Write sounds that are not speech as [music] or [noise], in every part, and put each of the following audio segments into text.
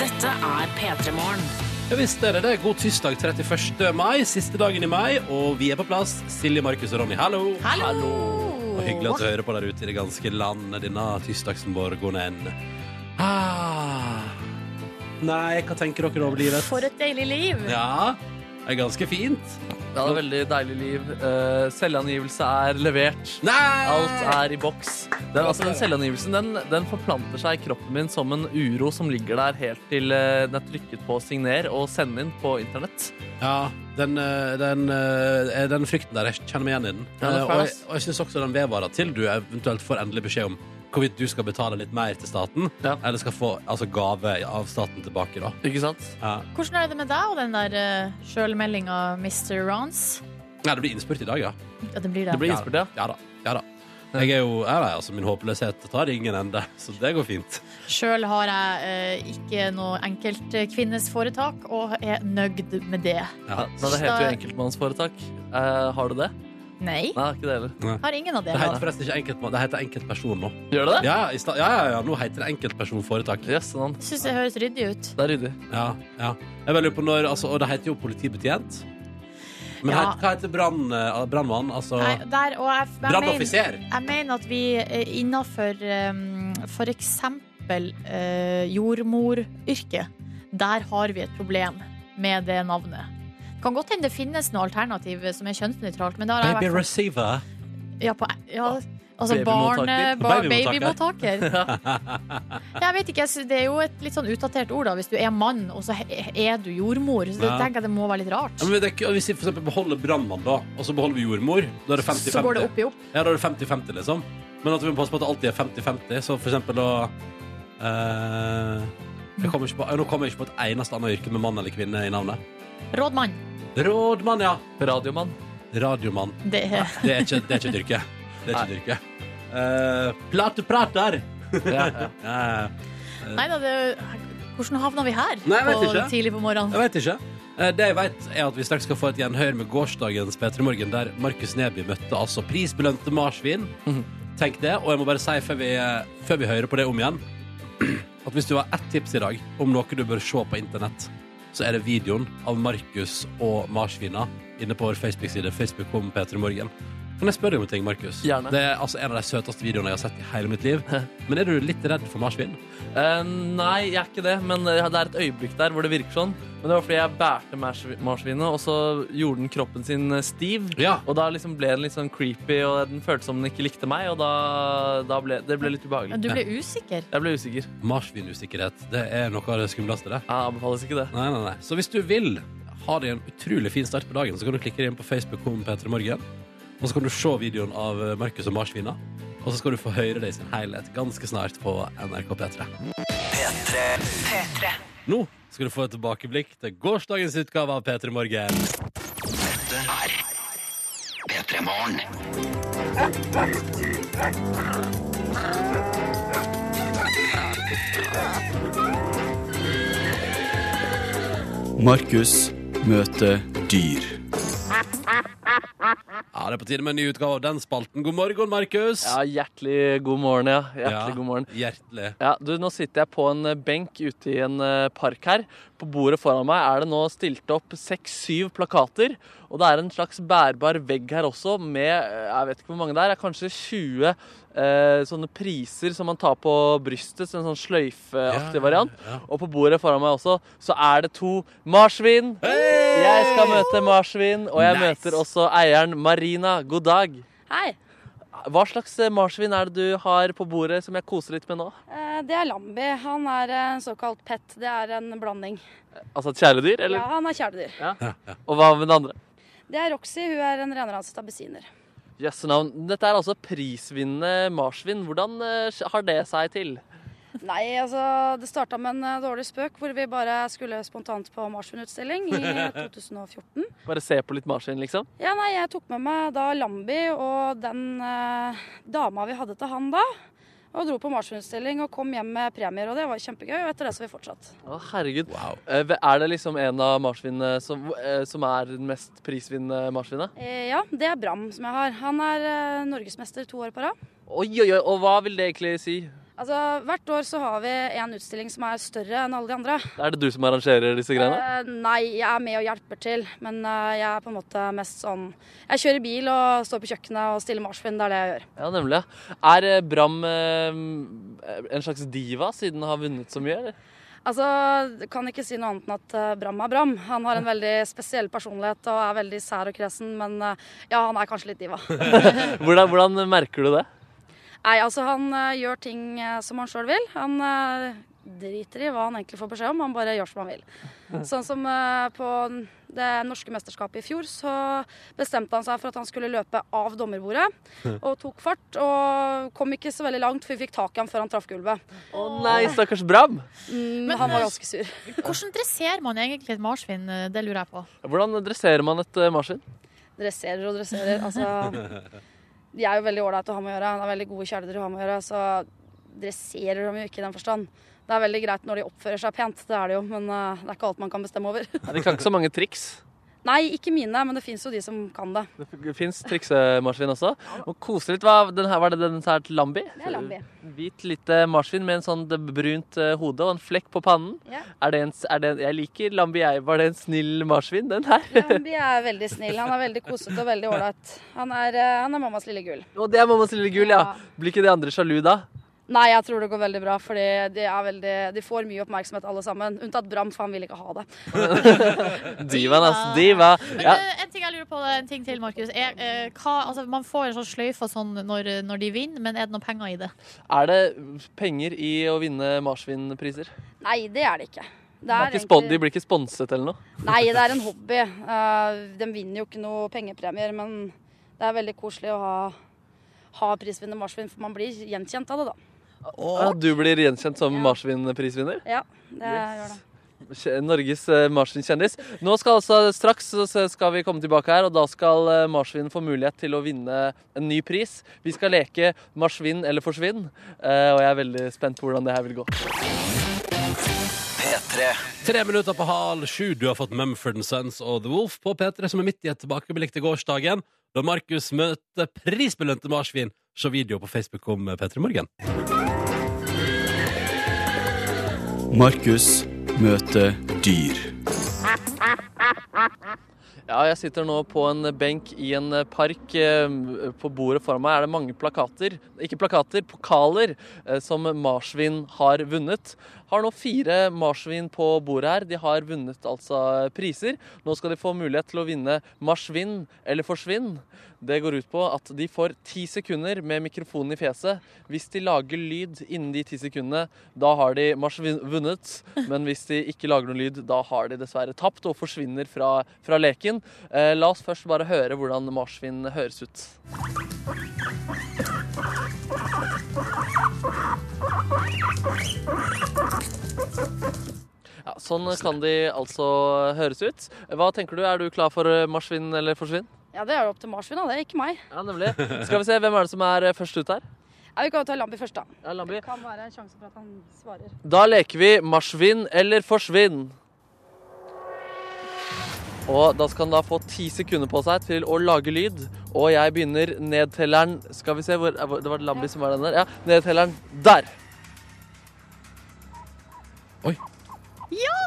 Dette er P3 Morgen. Ja visst er det det. God tirsdag 31. mai, siste dagen i mai, og vi er på plass. Silje, Markus og Ronny, hallo. Hallo! Og hyggelig at du hører på der ute i det ganske land denne tirsdagsmorgenen. Ah. Nei, hva tenker dere om livet? For et deilig liv. Ja, det er ganske fint. Ja, det er veldig deilig liv. Eh, selvangivelse er levert. Nei! Alt er i boks. Den, altså, den selvangivelsen den, den forplanter seg i kroppen min som en uro som ligger der helt til eh, den er trykket på signer og send inn på internett. Ja, den, eh, den, eh, den frykten der, jeg kjenner meg igjen i den. Ja, det er Eh, fæl, og, jeg, ass. og jeg synes også den vedvarer til du eventuelt får endelig beskjed om hvorvidt du skal betale litt mer til staten, Ja. eller skal få altså, gave av staten tilbake, da. Ikke sant? Ja. Hvordan er det med deg og den der uh, sjølmeldinga Mr. Rons? Nei, det blir innspurt i dag, ja. Ja, det blir det. Det blir innspurt, ja. Ja da. Ja, da. Jeg er jo, ja, nei, altså, min håpløshet tar ingen ende, [laughs] så det går fint. Sjøl har jeg eh, ikke noe enkeltkvinnesforetak og er nøyd med det. Ja. Nei, det heter jo enkeltmannsforetak. Eh, har du det? Nei. Nei, ikke det heller. Har ingen av det. Det heter forresten ikke enkeltmann, det heter enkeltperson nå. Gjør det det? Ja, i sta- ja, ja, ja, nå heter det enkeltpersonforetak. Jøsse navn. Syns det høres ryddig ut. sånn. Det er ryddig. Ja, ja. Jeg bare lurer på når, altså, og det heter jo politibetjent. Men Ja. heit- hva heter brann, eh, brannmann? Altså Nei, der, og jeg, jeg, mener, brannoffiser? jeg mener at vi eh, innafor um, f.eks. Uh, jordmoryrket, der har vi et problem med det navnet. Det kan godt hende det finnes noe alternativ som er kjønnsnøytralt, men det har jeg i hvert Baby fall receiver. Ja, på, ja altså Babymottaker. barne, bar, Babymottaker. babymottaker. [laughs] Jeg vet ikke, jeg sy- Det er jo et litt sånn utdatert ord, da, hvis du er mann og så he- er du jordmor. Så Ja. jeg tenker jeg det må være litt rart. Ja, men det er ikke- og hvis vi for eksempel beholder brannmann, da, og så beholder vi jordmor, da er det 50-50. Så går det opp i opp. Ja, da er det 50-50, liksom. Men at vi må passe på at det alltid er 50-50. Så for eksempel da eh, jeg kommer ikke på, Nå kommer jeg ikke på et eneste annet yrke med mann eller kvinne i navnet. Rådmann. Rådmann, ja. Radiomann. Radiomann. Det er Det er ikke, det er ikke et yrke. Det er ikke et yrke. Eh, Plateprater. Ja, ja. Eh, Nei da, det Hvordan havna vi her? Nei, jeg vet på, ikke. tidlig på morgenen. Jeg vet ikke. Eh, Det jeg vet, er at vi straks skal få et gjenhør med gårsdagens P3 Morgen, der Markus Neby møtte altså prisbelønte marsvin. Mhm. Tenk det. Og jeg må bare si før vi, før vi hører på det om igjen, at hvis du har ett tips i dag om noe du bør se på internett, så er det videoen av Markus og marsvina inne på vår Facebook-side. Facebook om P3 Morgen. Kan jeg spørre deg om en ting, Markus? Gjerne. Det er altså en av de søteste videoene jeg har sett i hele mitt [laughs] liv. Men er du litt redd for marsvin? Eh, nei, jeg er ikke det, men eh, det er et øyeblikk der hvor det virker sånn. Men det var fordi jeg bærte marsvi- marsvinet, og så gjorde den kroppen sin eh, stiv. Ja. Og da liksom ble den litt sånn creepy, og den føltes som den ikke likte meg, og da, da ble det ble litt Ja, ubehagelig. Du ble usikker. Jeg ble usikker. Marsvinusikkerhet, det er noe av det skumleste, det. Jeg anbefales ikke det. Nei, nei, nei. Så hvis du vil ha deg en utrolig fin start på dagen, så kan du klikke deg inn på Facebook om Peter Morgen. Og så kan du se videoen av eh, Markus og marsvina. Og så skal du få høre det i sin helhet ganske snart på NRK P3. Nå skal du få et tilbakeblikk til gårsdagens utgave av P3 Morgen. Markus møter dyr. Ja, Det er på tide med en ny utgave av den spalten. God morgen, Markus. Ja, hjertelig god morgen, ja. Hjertelig Ja, god morgen. Hjertelig. Ja, du, Nå sitter jeg på en eh, benk ute i en eh, park her. På bordet foran meg er det nå stilt opp seks-syv plakater. Og det er en slags bærbar vegg her også, med eh, jeg vet ikke hvor mange det er, det er kanskje 20 eh, sånne priser som man tar på brystet, så en sånn sløyfeaktig Ja, variant. ja. Og på bordet foran meg også så er det to marsvin. Jeg skal møte marsvin, og jeg Nice. møter også eieren Marina. God dag. Hei. Hva slags eh, marsvin er det du har på bordet som jeg koser litt med nå? eh, Det er Lambi. Han er en såkalt pet. Det er en blanding. Altså et kjæledyr, eller? Ja, han er kjæledyr. Og hva med den andre? Det er Roxy. Hun er en renranset abesiner. Jøsse navn. Dette er altså prisvinnende marsvin. Hvordan eh, har det seg til? Nei, altså Det starta med en eh, dårlig spøk hvor vi bare skulle spontant på marsvinutstilling i 2014. Bare se på litt marsvin, liksom? Ja, nei, jeg tok med meg da Lambi og den eh, dama vi hadde til han da. Og dro på marsvinutstilling og kom hjem med premier, og det var kjempegøy. Og etter det så har vi fortsatt. Å, herregud. Wow. Eh, Er det liksom en av marsvinene som, eh, som er den mest prisvinnende marsvinet? Eh, Ja, det er Bram som jeg har. Han er eh, norgesmester to år på rad. Oi, oi, oi. Og hva vil det egentlig si? Altså, Hvert år så har vi en utstilling som er større enn alle de andre. Er det du som arrangerer disse greiene? Eh, nei, jeg er med og hjelper til, men eh, jeg er på en måte mest sånn Jeg kjører bil og står på kjøkkenet og stiller marsvin. Det er det jeg gjør. Ja, nemlig. ja. Er eh, Bram eh, en slags diva siden han har vunnet så mye? Eller? Altså, jeg Kan ikke si noe annet enn at eh, Bram er Bram. Han har en veldig spesiell personlighet og er veldig sær og kresen, men eh, ja, han er kanskje litt diva. Hvordan, hvordan merker du det? Nei, altså han eh, gjør ting eh, som han sjøl vil. Han eh, driter i hva han egentlig får beskjed om, han bare gjør som han vil. Sånn som eh, på det norske mesterskapet i fjor, så bestemte han seg for at han skulle løpe av dommerbordet, og tok fart. Og kom ikke så veldig langt, for vi fikk tak i ham før han traff gulvet. Å nei, stakkars Bram! Mm, Men- han var ganske sur. [laughs] Hvordan dresserer man egentlig et marsvin? Det lurer jeg på. Hvordan dresserer man et eh, marsvin? Dresserer og dresserer. Altså De er jo veldig ålreite å ha med å gjøre. Det er veldig gode kjæledyr å ha med å gjøre, så dresserer de jo ikke i den forstand. Det er veldig greit når de oppfører seg pent, det er det jo, men eh, det er ikke alt man kan bestemme over. [laughs] Nei, De kan ikke så mange triks. Nei, ikke mine, men det fins jo de som kan det. Det fins triksemarsvin også. Og koselig litt. Hva, den her, var det den her til Lambi? Det er Lambi. Hvit lite marsvin med en sånn det brunt eh, hode og en flekk på pannen. Ja. Er det en, s- er det en, jeg liker Lambi, jeg. Var det en snill marsvin, den her? Lambi er veldig snill. Han er veldig kosete og veldig ålreit. Han, er, eh, han er mammas lille gull. [laughs] Og det er mammas lille gull, ja. Ja. Blir ikke de andre sjalu da? Nei, jeg tror det går veldig bra, fordi de, er veldig, de får mye oppmerksomhet alle sammen. Unntatt Bram, for han vil ikke ha det. Divaen, ass. Diva. Men Ja. eh, en ting jeg lurer på, en ting til, Markus. Er, eh, hva, altså, man får en sånn sløyfe og sånn når, når de vinner, men er det noen penger i det? Er det penger i å vinne marsvinpriser? Nei, det er det ikke. De, er ikke spon- de blir ikke sponset eller noe? Nei, det er en hobby. Eh, de vinner jo ikke noe pengepremier, men det er veldig koselig å ha, ha prisvinner marsvin, for man blir gjenkjent av det, da. Ja, du blir gjenkjent som Ja. marsvinprisvinner? Ja, det gjør det. Kje- Norges eh, marsvinkjendis. Nå skal altså straks så skal vi komme tilbake her, og da skal eh, marsvin få mulighet til å vinne en ny pris. Vi skal leke marsvin eller forsvinn, eh, og jeg er veldig spent på hvordan det her vil gå. Tre minutter på halv sju. Du har fått Mumford Sons og The Wolf på P3, som er midt i et tilbakeblikk til gårsdagen, da Markus møtte prisbelønte marsvin. Se video på Facebook om eh, P3 Morgen. Markus møter dyr. Ja, jeg sitter nå på en benk i en park. Eh, På bordet foran meg er det mange plakater, ikke plakater, pokaler, eh, som marsvin har vunnet. Har nå fire marsvin på bordet her. De har vunnet altså priser. Nå skal de få mulighet til å vinne marsvin eller forsvinn. Det går ut på at de får ti sekunder med mikrofonen i fjeset. Hvis de lager lyd innen de ti sekundene, da har de marsvin vunnet. Men hvis de ikke lager noen lyd, da har de dessverre tapt og forsvinner fra, fra leken. Eh, la oss først bare høre hvordan marsvin høres ut. Ja, sånn kan de altså høres ut. Hva tenker du, er du klar for eh, marsvin eller forsvinn? Ja, det er jo opp til marsvin, da. Det er ikke meg. Ja, nemlig. Skal vi se, hvem er det som er eh, først ut her? Ja, vi kan jo ta Lambi først, da. Ja, Lambi. Det kan være en sjanse for at han svarer. Da leker vi marsvinn eller forsvinn. Og da skal han da få ti sekunder på seg til å lage lyd. Og jeg begynner nedtelleren Skal vi se, hvor, eh, hvor- det var Lambi som var den der. Ja, nedtelleren der. Oi.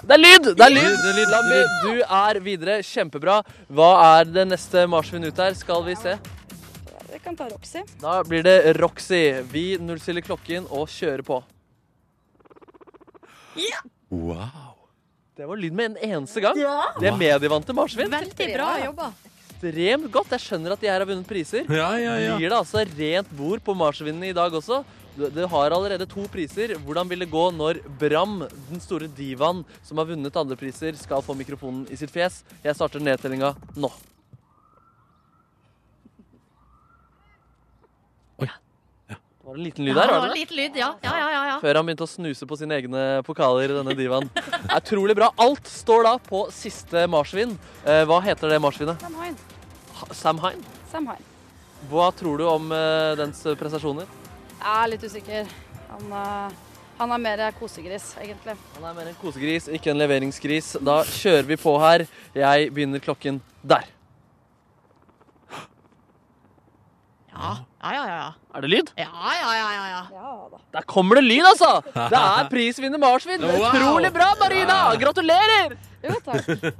Det er lyd! Det er lyd! Det er lyd, Lambi, det du er videre. Kjempebra. Hva er det neste marsvin ut her? Skal vi se. Vi kan ta Roxy. Da blir det Roxy. Vi nullstiller klokken og kjører på. Wow. Det var lyd med en eneste gang. De er medievante marsvin. Veldig bra jobba. ekstremt godt. Jeg skjønner at de her har vunnet priser. Ja, ja, ja. Blir det altså rent bord på marsvinene i dag også? Du, du har allerede to priser. Hvordan vil det gå når Bram, den store divaen som har vunnet andre priser, skal få mikrofonen i sitt fjes? Jeg starter nedtellinga nå. Oi. Ja. Det var en liten lyd Ja, her, det var var det det? litt lyd, ja. Ja, ja, ja, ja. Før han begynte å snuse på sine egne pokaler, denne divaen. Det er Utrolig bra. Alt står da på siste marsvin. Eh, hva heter det marsvinet? Sam Hine. Ha- Samhain? Sam Hine. Hva tror du om eh, dens prestasjoner? Jeg er litt usikker. Han, eh, han er mer kosegris, egentlig. Han er mer en kosegris, ikke en leveringsgris. Da kjører vi på her. Jeg begynner klokken der. Ja, ja, ja. ja. Er det lyd? Ja, ja, ja, ja, ja. Der kommer det lyd, altså! Det [laughs] er prisvinner marsvin. Wow! Utrolig bra, Marina! Gratulerer! Jo, [laughs] takk.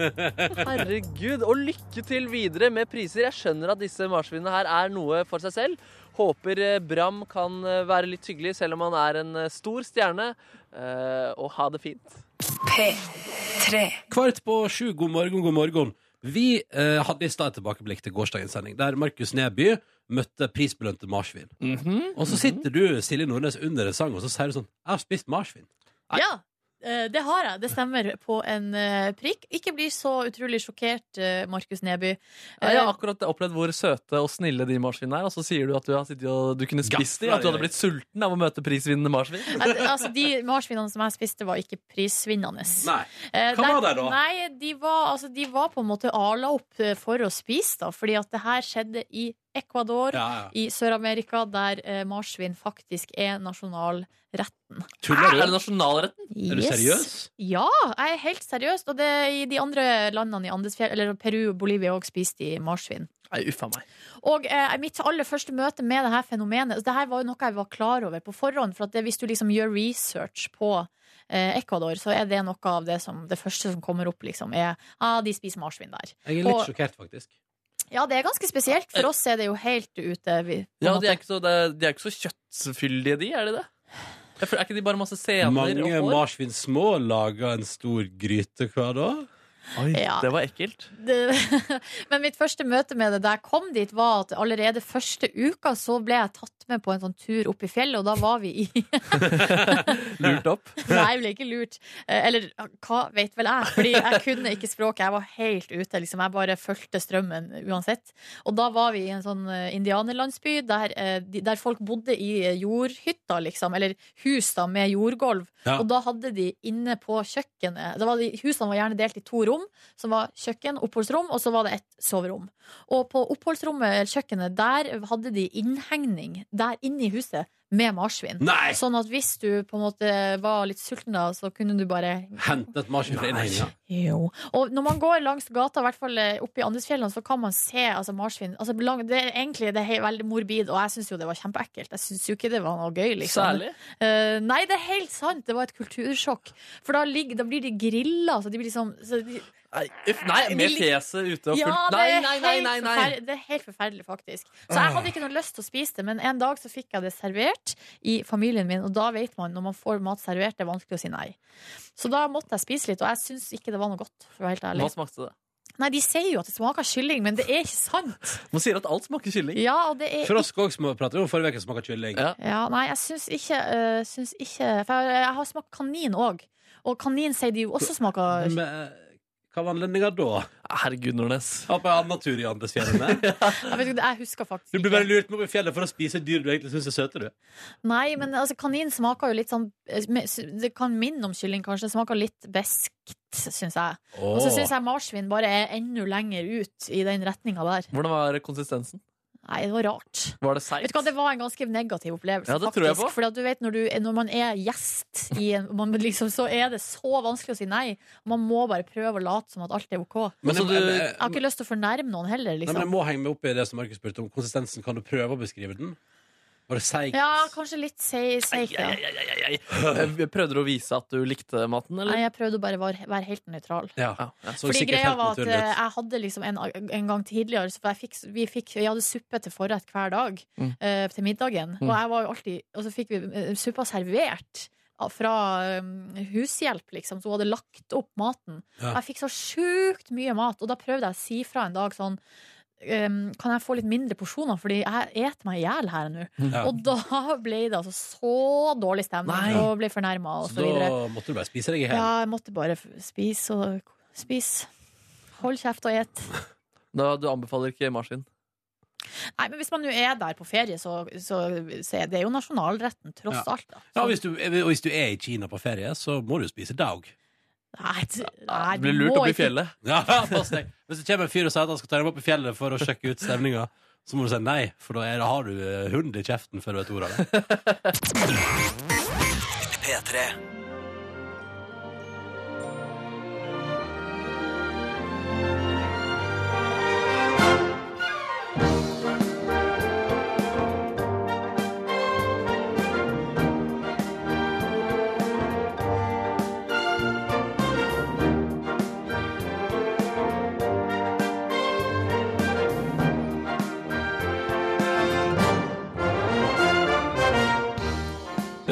Herregud, og lykke til videre med priser. Jeg skjønner at disse marsvinene her er noe for seg selv. Håper eh, Bram kan eh, være litt hyggelig, selv om han er en eh, stor stjerne. Eh, Og ha det fint. Kvart på sju, god morgen, god morgen. Vi eh, hadde i stad et tilbakeblikk til gårsdagens sending, der Markus Neby møtte prisbelønte marsvin. Og så sitter du, Silje Nordnes, under en sang, og så sier du sånn 'Jeg har spist marsvin'. Nei. Ja, eh, det har jeg. Det stemmer på en eh, prikk. Ikke bli så utrolig sjokkert, eh, Markus Neby. Ja, Jeg har Eh, akkurat opplevd hvor søte og snille de marsvinene er, og så sier du at du, har sittet og, du kunne spist Gaffla, dem, at ja, du hadde ja. blitt sulten av å møte prisvinnende marsvin. Eh, Altså, de marsvinene som jeg spiste, var ikke prisvinnende. Nei. Eh, Hva der- var det da? Nei, de var, altså, de var på en måte ala opp eh, for å spise, da, fordi at det her skjedde i Ecuador. Ja, ja. I Sør-Amerika, der eh, marsvin faktisk er nasjonalrett. Tuller Er du? det nasjonalretten? Er du Yes. seriøs? Ja, jeg er helt seriøs. Og det, i de andre landene i Andesfjell, eller Peru og Bolivia, også spiste de marsvin. Nei, uffa meg. Og eh, mitt aller første møte med det her fenomenet Det her var jo noe jeg var klar over på forhånd. For at det, hvis du liksom gjør research på eh, Ecuador, så er det noe av det som Det første som kommer opp, liksom, er ah, de spiser marsvin der. Jeg er litt Og- sjokkert, faktisk. Ja, det er ganske spesielt. For oss er det jo helt ute. Vi, på en Eh, Ja, måte. de er ikke så, det- de er ikke så kjøttfyldige, de, er de det? Jeg føler, er ikke de bare masse sener og Mange hår? marsvin små lager en stor gryte hver dag. Oi, Ja. Det var ekkelt. det, [laughs] men mitt første møte med det da jeg kom dit, var at allerede første uka så ble jeg tatt med på en sånn tur opp i fjellet, og da var vi i Lurt opp. Nei, jeg ble ikke lurt. Eh, Eller hva vet vel jeg? Fordi jeg kunne ikke språket. Jeg var helt ute. Liksom. Jeg bare fulgte strømmen uansett. Og da var vi i en sånn eh, indianerlandsby der, eh, de- der folk bodde i eh, jordhytter, liksom. Eller hus da, med jordgulv. Ja. Og da hadde de inne på kjøkkenet da var de, Husene var gjerne delt i to rom, som var kjøkken, oppholdsrom, og så var det ett soverom. Og på oppholdsrommet, eller kjøkkenet, der hadde de innhegning der inne i huset med marsvin. Nei! Sånn at hvis du på en måte var litt sulten da, så kunne du bare Hente et marsvin fra innhenginga. Jo. Og når man går langs gata, i hvert fall eh, oppe i Andesfjellene, så kan man se altså, marsvin. Altså, lang, det er egentlig det er he- veldig morbid, og jeg syns jo det var kjempeekkelt. Jeg syns jo ikke det var noe gøy, [laughs] liksom. Særlig. Eh, nei, det er helt sant! Det var et kultursjokk. For da, ligger, da blir de grilla, så de blir liksom så de, Nei, uff, nei, med Vil- fjeset ute og fullt. Ja, det nei, er, nei, nei, helt nei, nei. forfer- det er helt forferdelig, faktisk. Så jeg hadde ikke noe lyst til å spise det, men en dag så fikk jeg det servert i familien min, og da vet man når man får mat servert, det er vanskelig å si nei. Så da måtte jeg spise litt, og jeg syns ikke det var noe godt, for å være helt ærlig. Hva smakte det? Nei, de sier jo at det smaker kylling, men det er ikke sant. Man sier at alt smaker kylling. Ja, og det er Frosk òg prater om forrige uke smaker kylling. Ja. Ja, nei, jeg syns ikke, øh, syns ikke For jeg, jeg har smakt kanin òg. Og kanin sier de jo også smaker Men, eh, hva var anledninga da? Herregud, Nordnes. Var på en annen tur i Andesfjellene? Jeg, vet ikke, jeg husker faktisk [laughs] Du blir bare ikke. lurt med opp i fjellet for å spise dyr du egentlig syns er søte, du. Nei, men altså, kanin smaker jo litt sånn Det kan minne om kylling, kanskje. Det smaker litt beskt, syns jeg. Og så syns jeg marsvin bare er enda lenger ut i den retninga der. Hvordan var konsistensen? Nei, det var rart. Var det seigt? Vet du hva, Det var en ganske negativ opplevelse. Ja, det faktisk. tror jeg på. Fordi at du vet, når, du, når man er gjest, i en, man liksom, så er det så vanskelig å si nei. Man må bare prøve å late som at alt er OK. Jeg Men Men så jeg- du- jeg- jeg- har ikke lyst til å fornærme noen heller. Nei, men jeg Liksom. må henge meg opp i det som Markus spurte om. Konsistensen, kan du prøve å beskrive den? Var det seigt? Ja, kanskje litt sei- seigt, ja. [laughs] Eh, Prøvde du å vise at du likte maten, Nei, eller? jeg prøvde å bare være være helt nøytral. Ja. Ja, ja. Så Fordi sikkert greia helt var at naturlig eh, ut. jeg hadde liksom en, en gang tidligere så for jeg, fikk, vi fikk, jeg hadde suppe til forrett hver dag Mm. eh, til middagen. Og, Mm. jeg var jo alltid, og så fikk vi eh, suppa servert av- fra eh, hushjelp, liksom. Så hun hadde lagt opp maten. Ja. Og jeg fikk så sjukt mye mat, og da prøvde jeg å si fra en dag sånn ehm, kan jeg få litt mindre porsjoner, fordi jeg eter meg i hjel her nå. Ja. Og da ble det altså så dårlig stemning, Nei. og ble fornærma og Så så videre. da måtte du bare spise deg i hjel. Ja, jeg måtte bare f- spise og spise. Hold kjeft og et. Da, du anbefaler ikke marsvin? Nei, men hvis man nå er der på ferie, så, så, så er det jo nasjonalretten, tross Ja. alt. Da. Ja, Så- hvis du, og hvis du er i Kina på ferie, så må du jo spise daug. Nei, t- nei, det du blir lurt må opp i ikke- fjellet. [laughs] Ja, pass deg. Hvis det kommer en fyr og sier at han skal ta deg med opp i fjellet for å sjekke ut stemninga, så må du si nei, for da er, har du eh, hund i kjeften før du vet ordet av det. på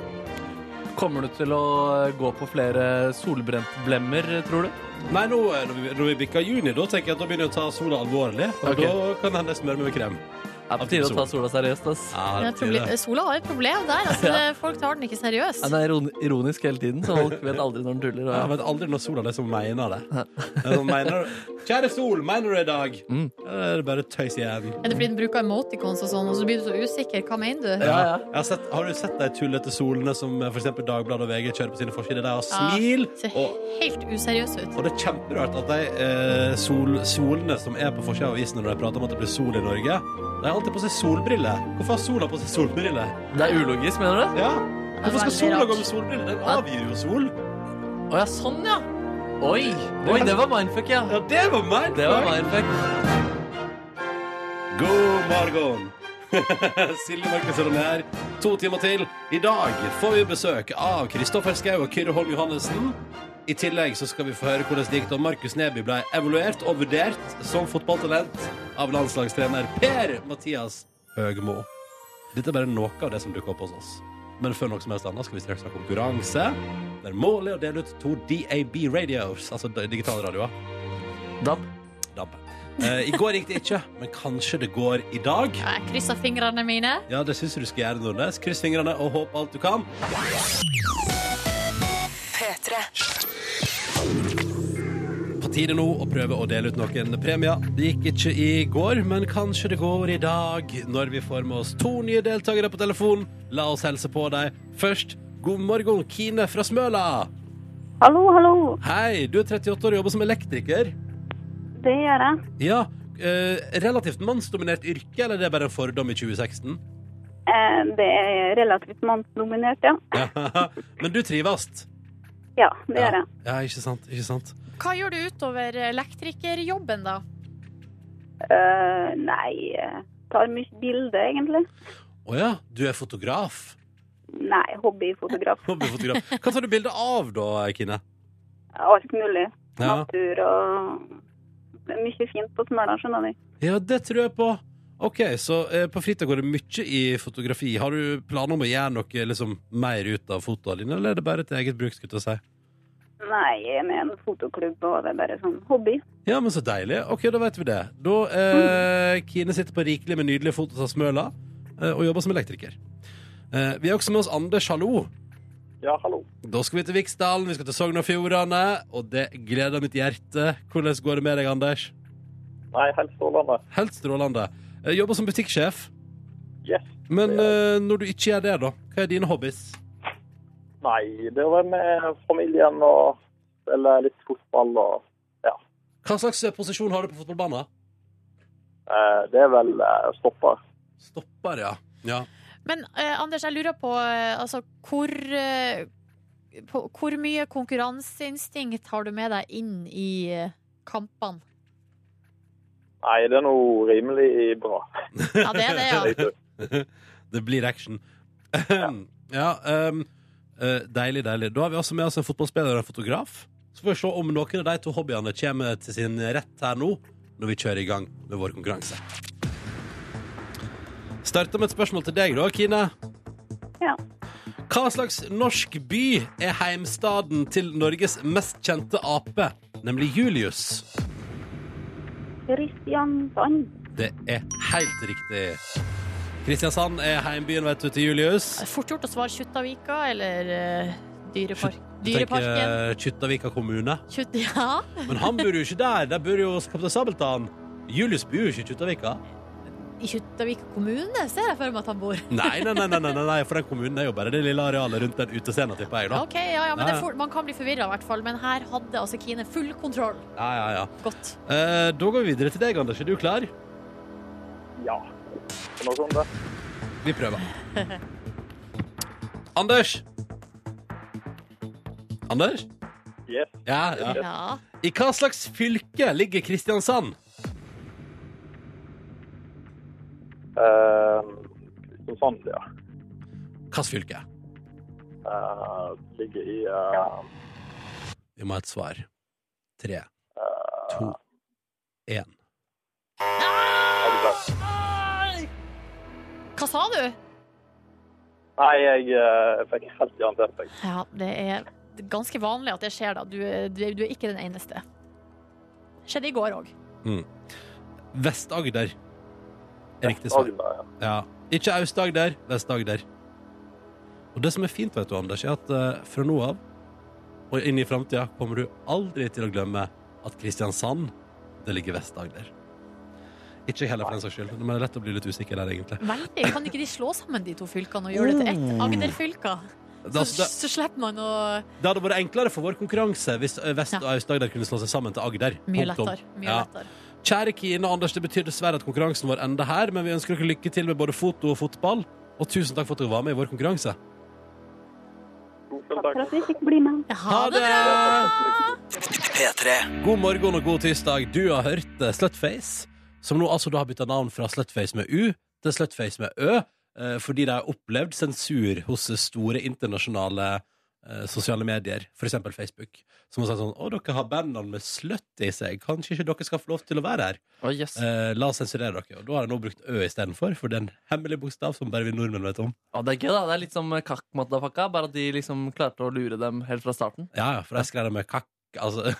Kommer du til å gå på flere solbrentblemmer, tror du? Nei, nå, eh, når vi, når vi bikker juni, da tenker jeg at da begynner jeg å ta sola alvorlig. Og Ok. da kan det hende jeg smører meg med krem. Det er på tide å ta sola seriøst, ass. Ja, Det er det et blir proble- det. Sola har et problem der. Altså, det- Folk tar den ikke seriøst. Ja, den er iron- ironisk hele tiden, så folk vet aldri når den tuller. Jeg Og vet aldri når sola liksom mener det. Det er sånn, Mener, Kjære sol, mener du i dag? Mm. Eller er det bare tøys igjen? Er det fordi den bruker emoticons og sånn, og så blir du så usikker? Hva mener du? Ja, ja. Jeg har, sett, har du sett de tullete solene som eh, for eksempel Dagbladet og VG kjører på sine forsider? De har Ah, smil, Ser og, helt useriøs ut. og det er kjemperart at de eh, sol, solene som er på forsida av avisene når de prater om at det blir sol i Norge, de har alltid på seg solbriller. Hvorfor har sola på seg solbriller? Det er ulogisk, mener du? Ja. Hvorfor skal veldig sola rart. gå med solbriller? Den avgir jo sol. Å ja, sånn, ja. Oi, Oi det var mindfuck, ja. Ja, det var meg! Det var mindfuck. God morgen! [laughs] Silje Markussen er her. To timer til. I dag får vi besøk av Kristoffer Schou og Kyrre Holm Johannessen. I tillegg så skal vi få høre hvordan det gikk da Markus Neby ble evaluert og vurdert som fotballtalent av landslagstrener Per-Mathias Høgmo. Dette er bare noe av det som dukker opp hos oss. Men før noe som helst annet skal vi straks ha konkurranse. Der målet er å dele ut to DAB radios, altså digitale radioer. DAB. DAB. Eh, I går gikk det ikke, men kanskje det går i dag. Jeg krysser fingrene mine. Ja, det syns jeg du skal gjøre, Nordnes. Kryss fingrene og håp alt du kan. På tide nå å prøve å dele ut noen premier. Det gikk ikke i går, men kanskje det går i dag når vi får med oss to nye deltakere på telefon. La oss helse på dem. Først, god morgen, Kine fra Smøla. Hallo, hallo. Hei, du er 38 år og jobber som elektriker. Det gjør jeg. Ja, eh, relativt mannsdominert yrke, eller er det bare en fordom i 2016? Eh, Det er relativt mannsdominert, ja. Ja. [laughs] Men du trives? Ja, det gjør jeg. Ja, ikke sant, ikke sant. Hva gjør du utover eh, elektrikerjobben, da? Eh, Nei, eh, tar mye bilder, egentlig. Å ja, du er fotograf. Nei, hobbyfotograf. Hobbyfotograf. Hva tar du bilde av da, Kine? Alt mulig. Ja. Natur og det er mye fint på Smøla, skjønner du. ja, det tror jeg på. Ok, så eh, på fritida går det mye i fotografi. Har du planer om å gjøre noe liksom, mer ut av fotoa dine, eller er det bare til eget bruk? skulle jeg til å si? Nei, jeg er med i en fotoklubb, og det er bare sånn hobby. Ja, men så deilig. Ok, da vet vi det. Da eh, Kine sitter på rikelig med nydelige fotos av Smøla eh, og jobber som elektriker. Eh, vi har også med oss Anders Hallo. Ja, hallo. Da skal vi til Viksdalen, vi skal til Sogn og Fjordane, og det gleder mitt hjerte. Hvordan går det med deg, Anders? Nei, helt strålende. Helt strålende. Eh, jobber som butikksjef, Yes. men eh, når du ikke gjør det, da, hva er dine hobbies? Nei, det var med familien og spille litt fotball og ja. Hva slags eh, posisjon har du på fotballbanen? Eh, Det er vel eh, stopper. Stopper, ja. ja. Men eh, Anders, jeg lurer på eh, altså, hvor eh, på, Hvor mye konkurranseinstinkt har du med deg inn i eh, kampene? Nei, det er noe rimelig bra. Ja, det er det, ja. [laughs] Det blir action. ja, ehm, eh, deilig, deilig. Da har vi også med oss en fotballspiller og en fotograf. Så får vi se om noen av de to hobbyene kommer til sin rett her nå, når vi kjører i gang med vår konkurranse. Starter med et spørsmål til deg, da, Kine. Ja. Hva slags norsk by er heimstaden til Norges mest kjente ape, nemlig Julius? Kristiansand. Det er helt riktig. Kristiansand er heimbyen, vet du, til Julius. Det er Fort gjort å svare Kjuttaviga eller eh, Dyrepark. Du tenker Dyreparken. eh, Kjuttaviga kommune. Kjutt, [laughs] ja. Men han bor jo ikke der. Der bor jo Kaptein Sabeltann. Julius bor jo ikke i Kjuttaviga. I Kjuttaviga kommune ser jeg for meg at han bor. Nei, nei, nei, nei, nei, nei, for den kommunen er jo bare det lille arealet rundt den utescenen, tipper jeg. da. Ok, ja, ja, men det Ja, ja. er fort, Man kan bli forvirra, i hvert fall. Men her hadde altså Kine full kontroll. Ja, ja, ja. Godt. Eh, da går vi videre til deg, Anders. Er du klar? Ja. For noe sånt, det. Vi prøver. Anders? Anders? Yes. Ja, ja. Ja. I hva slags fylke ligger Kristiansand? Eh, som sånn, ja. Hvilket fylke? Eh, ligger i eh, Vi må ha et svar. Tre, to, én. Agder. Hva sa du? Nei, jeg eh, fikk helt jernteppe. Ja, det er ganske vanlig at det skjer, da. Du, er- du, er- du er ikke den eneste. Skjedde i går òg. Vest-Agder. er Riktig svar. Agder, Ja. Ikke Aust-Agder, Vest-Agder. Og det som er fint, vet du, Anders, er at eh, fra nå av og inn i framtida kommer du aldri til å glemme at Kristiansand, det ligger i Vest-Agder. Ikke jeg heller, for den saks skyld. Men det er lett å bli litt usikker der, egentlig. Veldig. Kan ikke de slå sammen de to fylkene og gjøre det til ett Agder-fylke? Det, Så, altså, det, så slipper man å det hadde vært enklere for vår konkurranse hvis eh, Vest- og Aust-Agder kunne slå seg sammen til Agder. Mye Punktum. lettere. Mye Ja. lettere. Kjære Kine og Anders, det betyr dessverre at konkurransen vår ender her, men vi ønsker dere lykke til med både foto og fotball. Og tusen takk for at dere var med i vår konkurranse. ja. Takk for at vi fikk bli med. Ha det bra! P3. God morgen og god tirsdag. Du har hørt eh, Slutface, som nå altså da har bytta navn fra Slutface med U til Slutface med Ø, eh, fordi de har opplevd sensur hos store internasjonale eh, sosiale medier, f.eks. Facebook, som har sagt sånn 'Å, dere har bandnavn med slutt i seg. Kanskje ikke dere skal få lov til å være her?' Å, yes. Eh, la oss sensurere dere. Og da har jeg nå brukt Ø istedenfor, for det er en hemmelig bokstav som bare vi nordmenn vet om. Å, det er gøy, da. Det er litt som kakkmattapakka, bare at de liksom klarte å lure dem helt fra starten. Ja, ja, for jeg skrev det med kakk. Altså,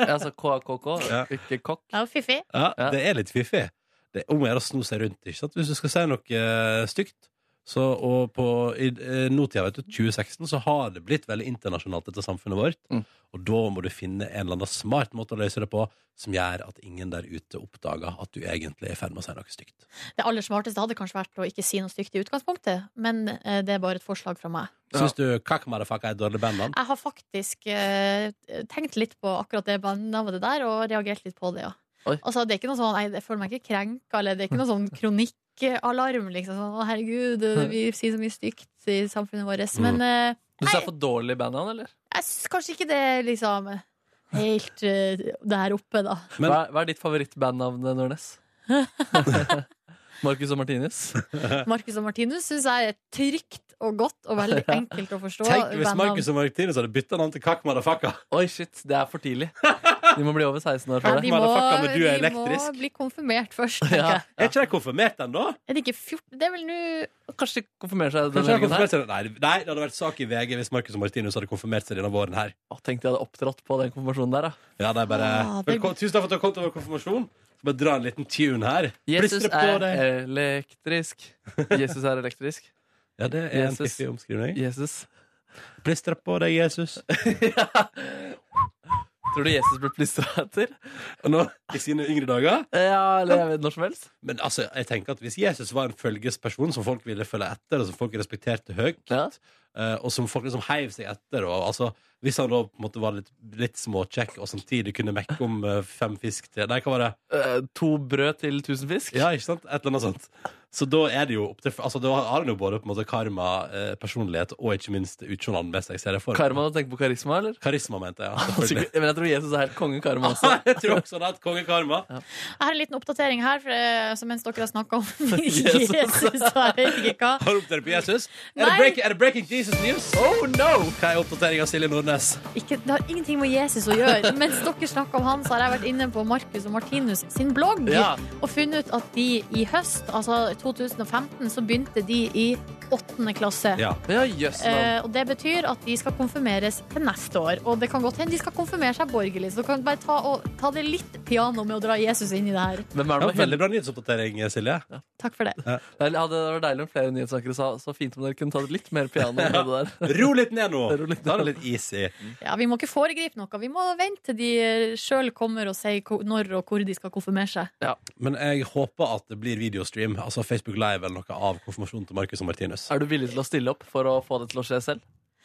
Altså KKK, Ja. ikke kokk. Det var fiffig. ja, Ja. det er litt fiffig. Det er om å gjøre å sno seg rundt. Ikke sant? Hvis du skal si noe eh, stygt så, og på, I eh, nåtida, vet du, 2016, så har det blitt veldig internasjonalt, dette samfunnet vårt. Mm. Og da må du finne en eller annen smart måte å løse det på som gjør at ingen der ute oppdager at du egentlig er i ferd med å si noe stygt. Det aller smarteste hadde kanskje vært å ikke si noe stygt i utgangspunktet, men eh, det er bare et forslag fra meg. Ja. Syns du Kakk Motherfucker er et dårlig bandnavn? Jeg har faktisk eh, tenkt litt på akkurat det bandnavnet der, og reagert litt på det, ja. Oi. Altså, det er ikke noe sånn, nei, jeg føler meg ikke krenka, eller det er ikke noe sånn kronikkalarm, liksom. Sånn, å, herregud, Hm. vi sier så mye stygt i samfunnet vårt. Men eh, Du sa for dårlig bandnavn, eller? jeg syns kanskje ikke det er liksom helt eh, der oppe, da. Men- hva, er, hva er ditt favorittbandnavn, Nordnes? [laughs] Marcus og Martinus? Marcus og Martinus syns jeg er trygt og godt og [laughs] veldig enkelt å forstå. Tenk hvis bandnavn. Markus og Martinus hadde bytta navn til Kakk Motherfucker! [laughs] Oi, shit, det er for tidlig. De må bli over 16 Ja, år for de det. må, Motherfucker, men du er de må elektrisk. bli konfirmert først. tenker jeg. Er ikke de konfirmert ennå? Er det ikke 14 Det er vel nå Kanskje de konfirmerer seg Kanskje han har denne helgen her? konfirmert seg Nei, nei, det hadde vært sak i VG hvis Marcus og Martinus hadde konfirmert seg denne våren her. Å, tenkte jeg hadde opptrådt på den konfirmasjonen der, da. Ja, det er bare Ah, det- Velkommen, Tusen takk for at du har kommet til vår konfirmasjon. Så bare dra en liten tune her. Jesus Plystre på er deg. elektrisk. Jesus er elektrisk. Ja, det er en Jesus. fiffig omskrivning. [laughs] Jesus. Plystre på deg, Jesus. Tror du Jesus ble plystra etter? [laughs] Eh, Og nå, i sine yngre dager Ja, eller jeg vet når som helst. Men altså, jeg tenker at hvis Jesus var en følgesperson som folk ville følge etter, og som folk respekterte høyt, Ja. eh, og som folk liksom heiv seg etter og, altså, Hvis han da på en måte var litt, litt småkjekk og samtidig kunne mekke om eh, fem fisk til Nei, hva var det? Eh, to brød til tusen fisk? Ja, ikke sant? Et eller annet sånt. Så da er det jo opp til Altså, da har han jo både på en måte karma, eh, personlighet og ikke minst utseendet med seg. Ser jeg for meg. Karma, du tenker på karisma, eller? Karisma, mente [laughs] jeg. Ja, selvfølgelig. [laughs] Men jeg tror Jesus er helt konge karma [laughs] også. jeg tror også han har hatt kongekarma. Jeg har en liten oppdatering her, for, eh, så mens dere har snakka om [laughs] [laughs] Jesus. Jesus og ikke hva. Har du oppdatert på Jesus? Er det, Nei. break, er det Breaking Jesus News? Oh no! Hva er oppdateringa av Silje Nordnes? Ikke, det har ingenting med Jesus å gjøre. Mens dere snakker om han, så har jeg vært inne på Marcus og Martinus sin blogg Ja. og funnet ut at de i høst, altså 2015, så begynte de i åttende klasse. Ja. Ja, jøss. navn. Eh, og Det betyr at de skal konfirmeres til neste år. Og det kan godt hende de skal konfirmere seg borgerlig. Så du kan bare ta, og, ta det litt piano med å dra Jesus inn i det her. Hvem er Det det var med veldig bra nyhetsoppdatering, Silje. Takk for det. Det hadde vært deilig om flere nyhetssakere sa så fint om dere kunne ta det litt mer [laughs] piano. med det der. Ro litt ned nå! [laughs] Ro litt ned. Ta det litt easy. Ja, Vi må ikke foregripe noe. Vi må vente til de eh, sjøl kommer og sier ko- når og hvor de skal konfirmere seg. Men jeg håper at det blir videostream, altså Facebook Live eller noe av konfirmasjonen til Marcus og Martinus. Er du villig til å stille opp for å få det til å skje selv?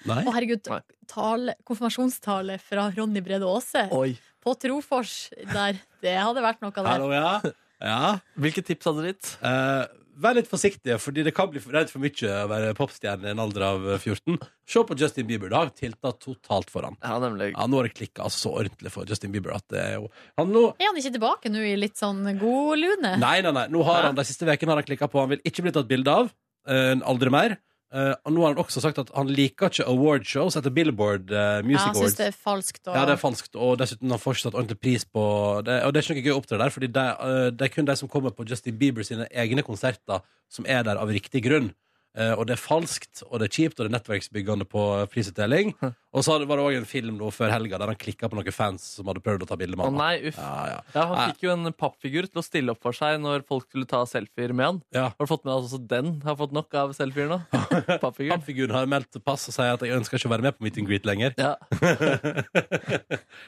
Nei? Å herregud, Nei. tale, konfirmasjonstale fra Ronny Brede Aase Oi. på Trofors der. Det hadde vært noe der. Hallo, ja? Ja? Hvilke tips hadde du gitt? Eh, Vær litt forsiktige, fordi det kan bli for- redd for mye å være popstjerne i en alder av 14. Se på Justin Bieber. Da har tilta totalt for han. Ja, nemlig. Ja, nå har det klikka så ordentlig for Justin Bieber at det er jo han nå, Er han ikke tilbake nå i litt sånn god lune? Nei, nei, nei. Nå har han, de siste vekene har han klikka på. Han vil ikke bli tatt bilde av. eh, aldri mer. Eh, og nå har han også sagt at han liker ikke awardshows etter Billboard eh, Ja, Music han Awards. syns det er falskt. Og... Ja, det er falskt, og dessuten har fortsatt ordentlig pris på det. Og det er ikke noe gøy å opptre der, Fordi det, eh, det er kun de som kommer på Justin Bieber sine egne konserter, som er der av riktig grunn. Eh, Og det er falskt, og det er kjipt, og det er nettverksbyggende på prisutdeling. Hm. Og så hadde- var det òg en film nå før helga der han klikka på noen fans som hadde prøvd å ta bilde med Å han. nei, uff. Ja, ja. Ja, han fikk jo en pappfigur til å stille opp for seg når folk skulle ta selfier med han. ja. Har du fått med deg at også den? Har fått nok av [laughs] selfier nå? Pappfiguren. Pappfiguren har meldt pass og sier at jeg ønsker ikke å være med på meet and greet lenger. Ja.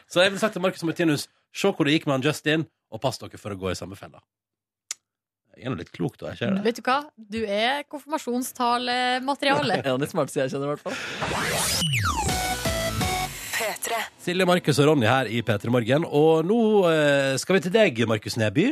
Så jeg vil sagt til Markus Martinus, se hvor det gikk med han Justin, og pass dere for å gå i samme fella. Jeg er nå litt klok, da. Jeg ser det. Vet du hva? Du er [laughs] konfirmasjonstalemateriale. En av de smarteste jeg kjenner, i hvert fall. Silje, Markus og Ronny her i P3 Morgen. Og nå eh, skal vi til deg, Markus Neby.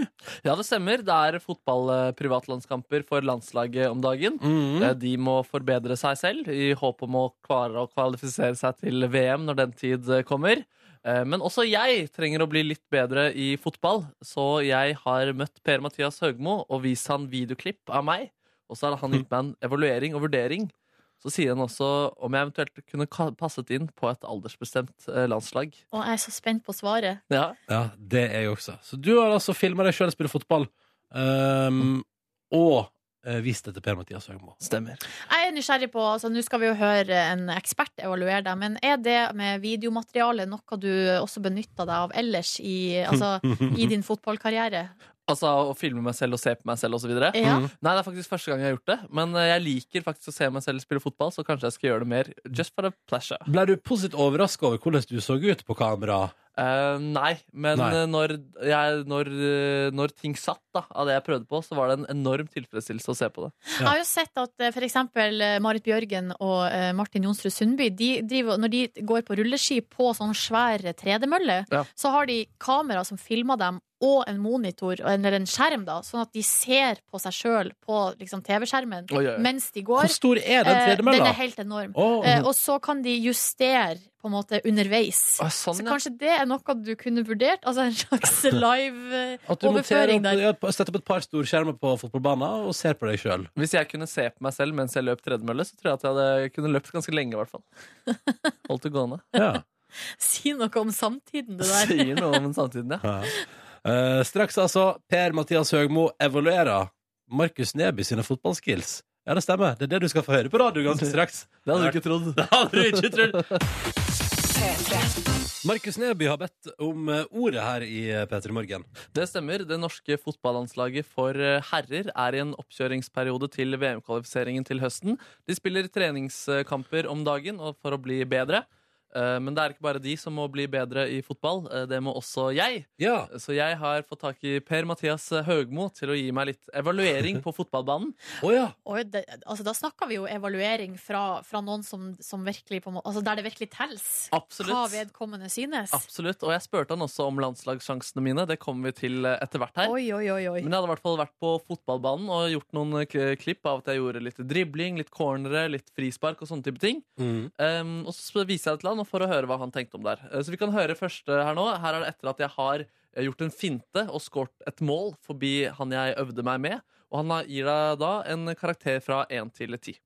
Ja, det stemmer. Det er fotball-privatlandskamper for landslaget om dagen. Eh, De må forbedre seg selv i håp om å klare å kvalifisere seg til VM når den tid eh, kommer. Eh, Men også jeg trenger å bli litt bedre i fotball, så jeg har møtt Per-Mathias Høgmo og vist han videoklipp av meg. Og så har han gitt meg en evaluering og vurdering. Så sier han også om jeg eventuelt kunne ka- passet inn på et aldersbestemt eh, landslag. Og jeg er så spent på svaret. Ja, Ja, det er jeg også. Så du har altså filma deg sjøl spille fotball, ehm, og eh, vist det til Per-Mathias Høgmo. stemmer. Jeg er nysgjerrig på, altså Nå skal vi jo høre en ekspert evaluere deg, men er det med videomateriale noe du også benytter deg av ellers i, altså, i din fotballkarriere? Altså å filme meg selv og se på meg selv osv. videre Ja. Nei, det er faktisk første gang jeg har gjort det. Men eh, jeg liker faktisk å se meg selv spille fotball, så kanskje jeg skal gjøre det mer just for the pleasure. Ble du positivt overraska over hvordan du så ut på kamera? Eh, nei, men Nei. eh, Når, jeg, når, eh, når ting satt da, av det jeg prøvde på, så var det en enorm tilfredsstillelse å se på det. Ja. Jeg har jo sett at eh, for eksempel eh, Marit Bjørgen og eh, Martin Jonsrud Sundby de driver, Når de går på rulleski på sånn svær tredemølle, Ja. så har de kamera som filmer dem, og en monitor, eller en skjerm, da, sånn at de ser på seg sjøl på liksom, TV-skjermen Oi, oi, oi. mens de Hvor går. stor er den Eh, tredemølla? er helt enorm. Å, Eh, og så kan de justere på en måte underveis. Å, så sånn, ja. kanskje det er noe du kunne vurdert? Altså en [laughs] slags At du monterer live-overføring opp, der. ja, setter opp et par store skjermer på fotballbanen og ser på deg sjøl. Hvis jeg kunne se på meg selv mens jeg løp tredemølle, så tror jeg at jeg hadde kunne løpt ganske lenge. i [laughs] hvert fall Holdt det gående. Ja. Si noe om samtiden, det der. [laughs] Sier noe om samtiden, ja. Eh, straks altså Per-Mathias Høgmo evaluerer Markus Neby sine fotballskills. Ja, det stemmer. Det er det du skal få høre på radio ganske straks. Det hadde du ikke trodd. Det hadde du ikke trodd. Markus Neby har bedt om eh, ordet her i eh, P3 Morgen. Det stemmer. Det norske fotballandslaget for eh, herrer er i en oppkjøringsperiode til VM-kvalifiseringen til høsten. De spiller treningskamper om dagen og for å bli bedre. Eh, Men det er ikke bare de som må bli bedre i fotball. eh, Det må også jeg. Ja. Så jeg har fått tak i Per-Mathias Høgmo til å gi meg litt evaluering på fotballbanen. Å ja. Og det, altså, da snakker vi jo evaluering fra, fra noen som, som virkelig på en måte, altså, Der det virkelig telles hva Absolutt. vedkommende synes. Absolutt. Og jeg spurte han også om landslagssjansene mine. Det kommer vi til eh, etter hvert her. Oi, oi, oi. oi. Men jeg hadde i hvert fall vært på fotballbanen og gjort noen eh, k- klipp av at jeg gjorde litt dribling, litt cornere, litt frispark og sånne type ting. Um, og så viser jeg det til han og for å høre hva han tenkte om der. Uh, så vi kan høre først uh, her nå. Her er det etter at jeg har uh, gjort en finte og skåret et mål forbi han jeg øvde meg med. Og han har- gir deg da en karakter fra 1 til 10.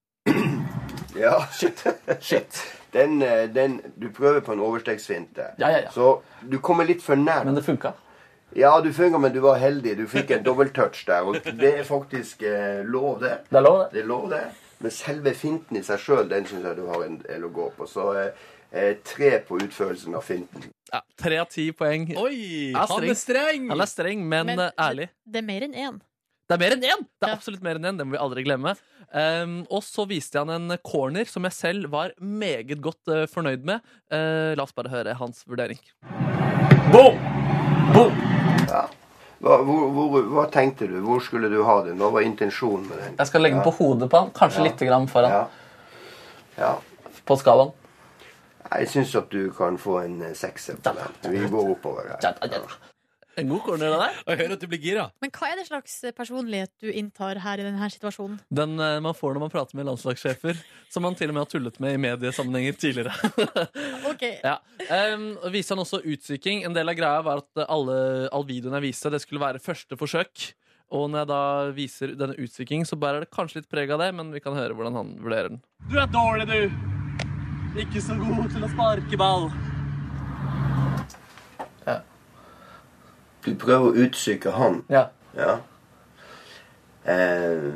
Ja, [laughs] shit. Den, eh, den, du prøver på en overstegsfinte. Ja, ja, ja. Så du kommer litt for nær. det funka. Ja, du funka, men du var heldig. Du fikk en dobbelttouch der. Og det er faktisk eh, lov, det. Det er lov, det. Det er lov, det. Men selve finten i seg sjøl, den syns jeg du har en del å gå på. Så eh, eh, tre på utførelsen av finten. Ja, 3 av 10 poeng. Oi! Ja, streng. Han er streng! Han er streng, men, Men- uh, ærlig. Det er mer enn én. Det er mer enn én! Det er Ja. absolutt mer enn én, det må vi aldri glemme. Ehm, og så viste jeg han en corner som jeg selv var meget godt eh, fornøyd med. Eh, la oss bare høre hans vurdering. Boom! Boom! Ja. Hva, hvor, hvor, hva tenkte du? Hvor skulle du ha den? Hva var intensjonen med den? Jeg skal legge Ja. på hodet på han, kanskje Ja. lite grann foran. Ja. ja. På skalaen. Jeg syns at du kan få en eh, sekser på den. Vi går oppover her. Ja, ja, ja. En god corner, det der. Og jeg hører at du blir gira. Men hva er det slags personlighet du inntar her i denne situasjonen? Den eh, man får når man prater med landslagssjefer, som man til og med har tullet med i mediesammenhenger tidligere. [laughs] Ok, Ja. Um, viste han også utsyking. En del av greia var at alle, all videoen jeg viste, det skulle være første forsøk. Og når jeg da viser denne utsyking, så bærer det kanskje litt preg av det, men vi kan høre hvordan han vurderer den. Du er dårlig, du! Ikke så god til å sparke ball. Du prøver å utsyke han. Ja. Ja. Eh,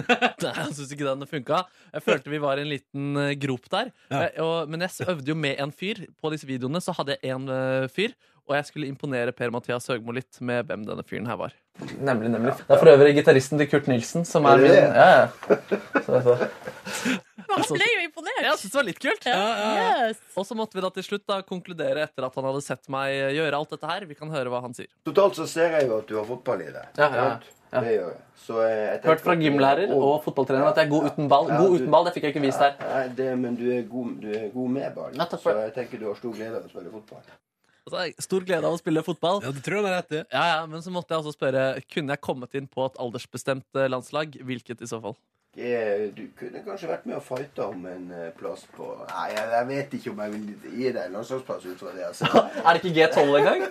[laughs] Nei, jeg syns ikke den funka. Jeg følte vi var i en liten eh, grop der. Eh, Og, men jeg s- øvde jo med en fyr. På disse videoene så hadde jeg en eh, fyr, og jeg skulle imponere Per-Mathias Høgmo litt med hvem denne fyren her var. Nemlig, nemlig. Det er for øvrig gitaristen til Kurt Nilsen som er Er det min. det? Ja, ja. Så, så. Men Altså, han ble jo imponert! Jeg synes det var litt kult. Yes. Og så måtte vi da til slutt da konkludere etter at han hadde sett meg gjøre alt dette her. Vi kan høre hva han sier. totalt så ser jeg jo at du har fotball i deg. Ja, ja, ja. Sant? Det gjør jeg. Så, eh, jeg tenker Hørt fra at- gymlærer og fotballtrener at jeg er god uten ball. Ja, God du- uten ball, det fikk jeg ikke vist her. Nei, det, men du er, god, du er god med ball. Ja, takk for så det. jeg tenker du har stor glede av å spille fotball. Altså, jeg har stor glede av å spille fotball. Ja, det tror jeg han har rett i. Ja, ja, Men så måtte jeg også spørre kunne jeg kommet inn på et aldersbestemt eh, landslag. Hvilket i så fall? Eh, Du kunne kanskje vært med og fighta om en eh, plass på Nei, jeg, jeg vet ikke om jeg vil gi deg en landslagsplass ut fra det jeg ser. Er det ikke G12 engang?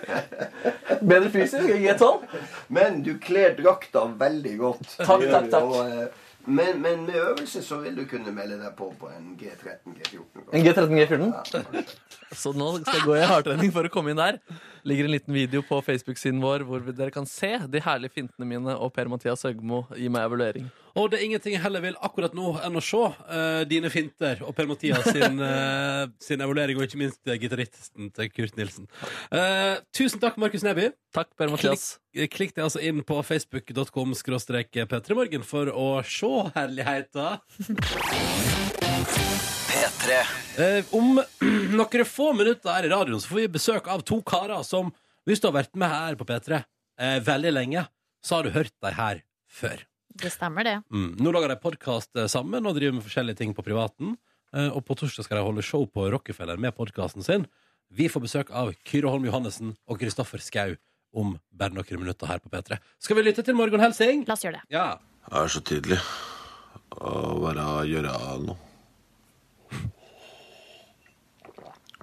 Bedre fysisk enn G12? Men du kler drakta veldig godt. Det [laughs] Takk, gjør takk, du, takk. og, eh, men, men med øvelse så vil du kunne melde deg på på en G13, G14. En kanskje. G13, G14? Ja, kanskje. Så nå skal jeg gå i hardtrening for å komme inn der. Ligger en liten video på Facebook-siden vår hvor vi- dere kan se de herlige fintene mine og Per-Mathias Høgmo gi meg evaluering. Og det er ingenting jeg heller vil akkurat nå enn å se eh, dine finter og Per-Mathias sin, [laughs] eh, sin evaluering, og ikke minst eh, gitaristen til Kurt Nilsen. Eh, tusen takk, Markus Neby. Takk, Per-Mathias. Klikk, klikk deg altså inn på facebook.com skråstrek p3morgen for å se herligheter. P3. Eh, om [clears throat] noen få minutter her i radioen så får vi besøk av to karer som, hvis du har vært med her på P3 eh, veldig lenge, så har du hørt dem her før. Det stemmer, det. Mm. Nå lager de podkast sammen og driver med forskjellige ting på privaten. Eh, Og på torsdag skal de holde show på Rockefeller med podkasten sin. Vi får besøk av Kyrre Holm Johannessen og Kristoffer Skau om bare noen minutter her på P3. Skal vi lytte til Morgan Helsing? La oss gjøre det. Ja. Det er så tydelig å bare gjøre noe.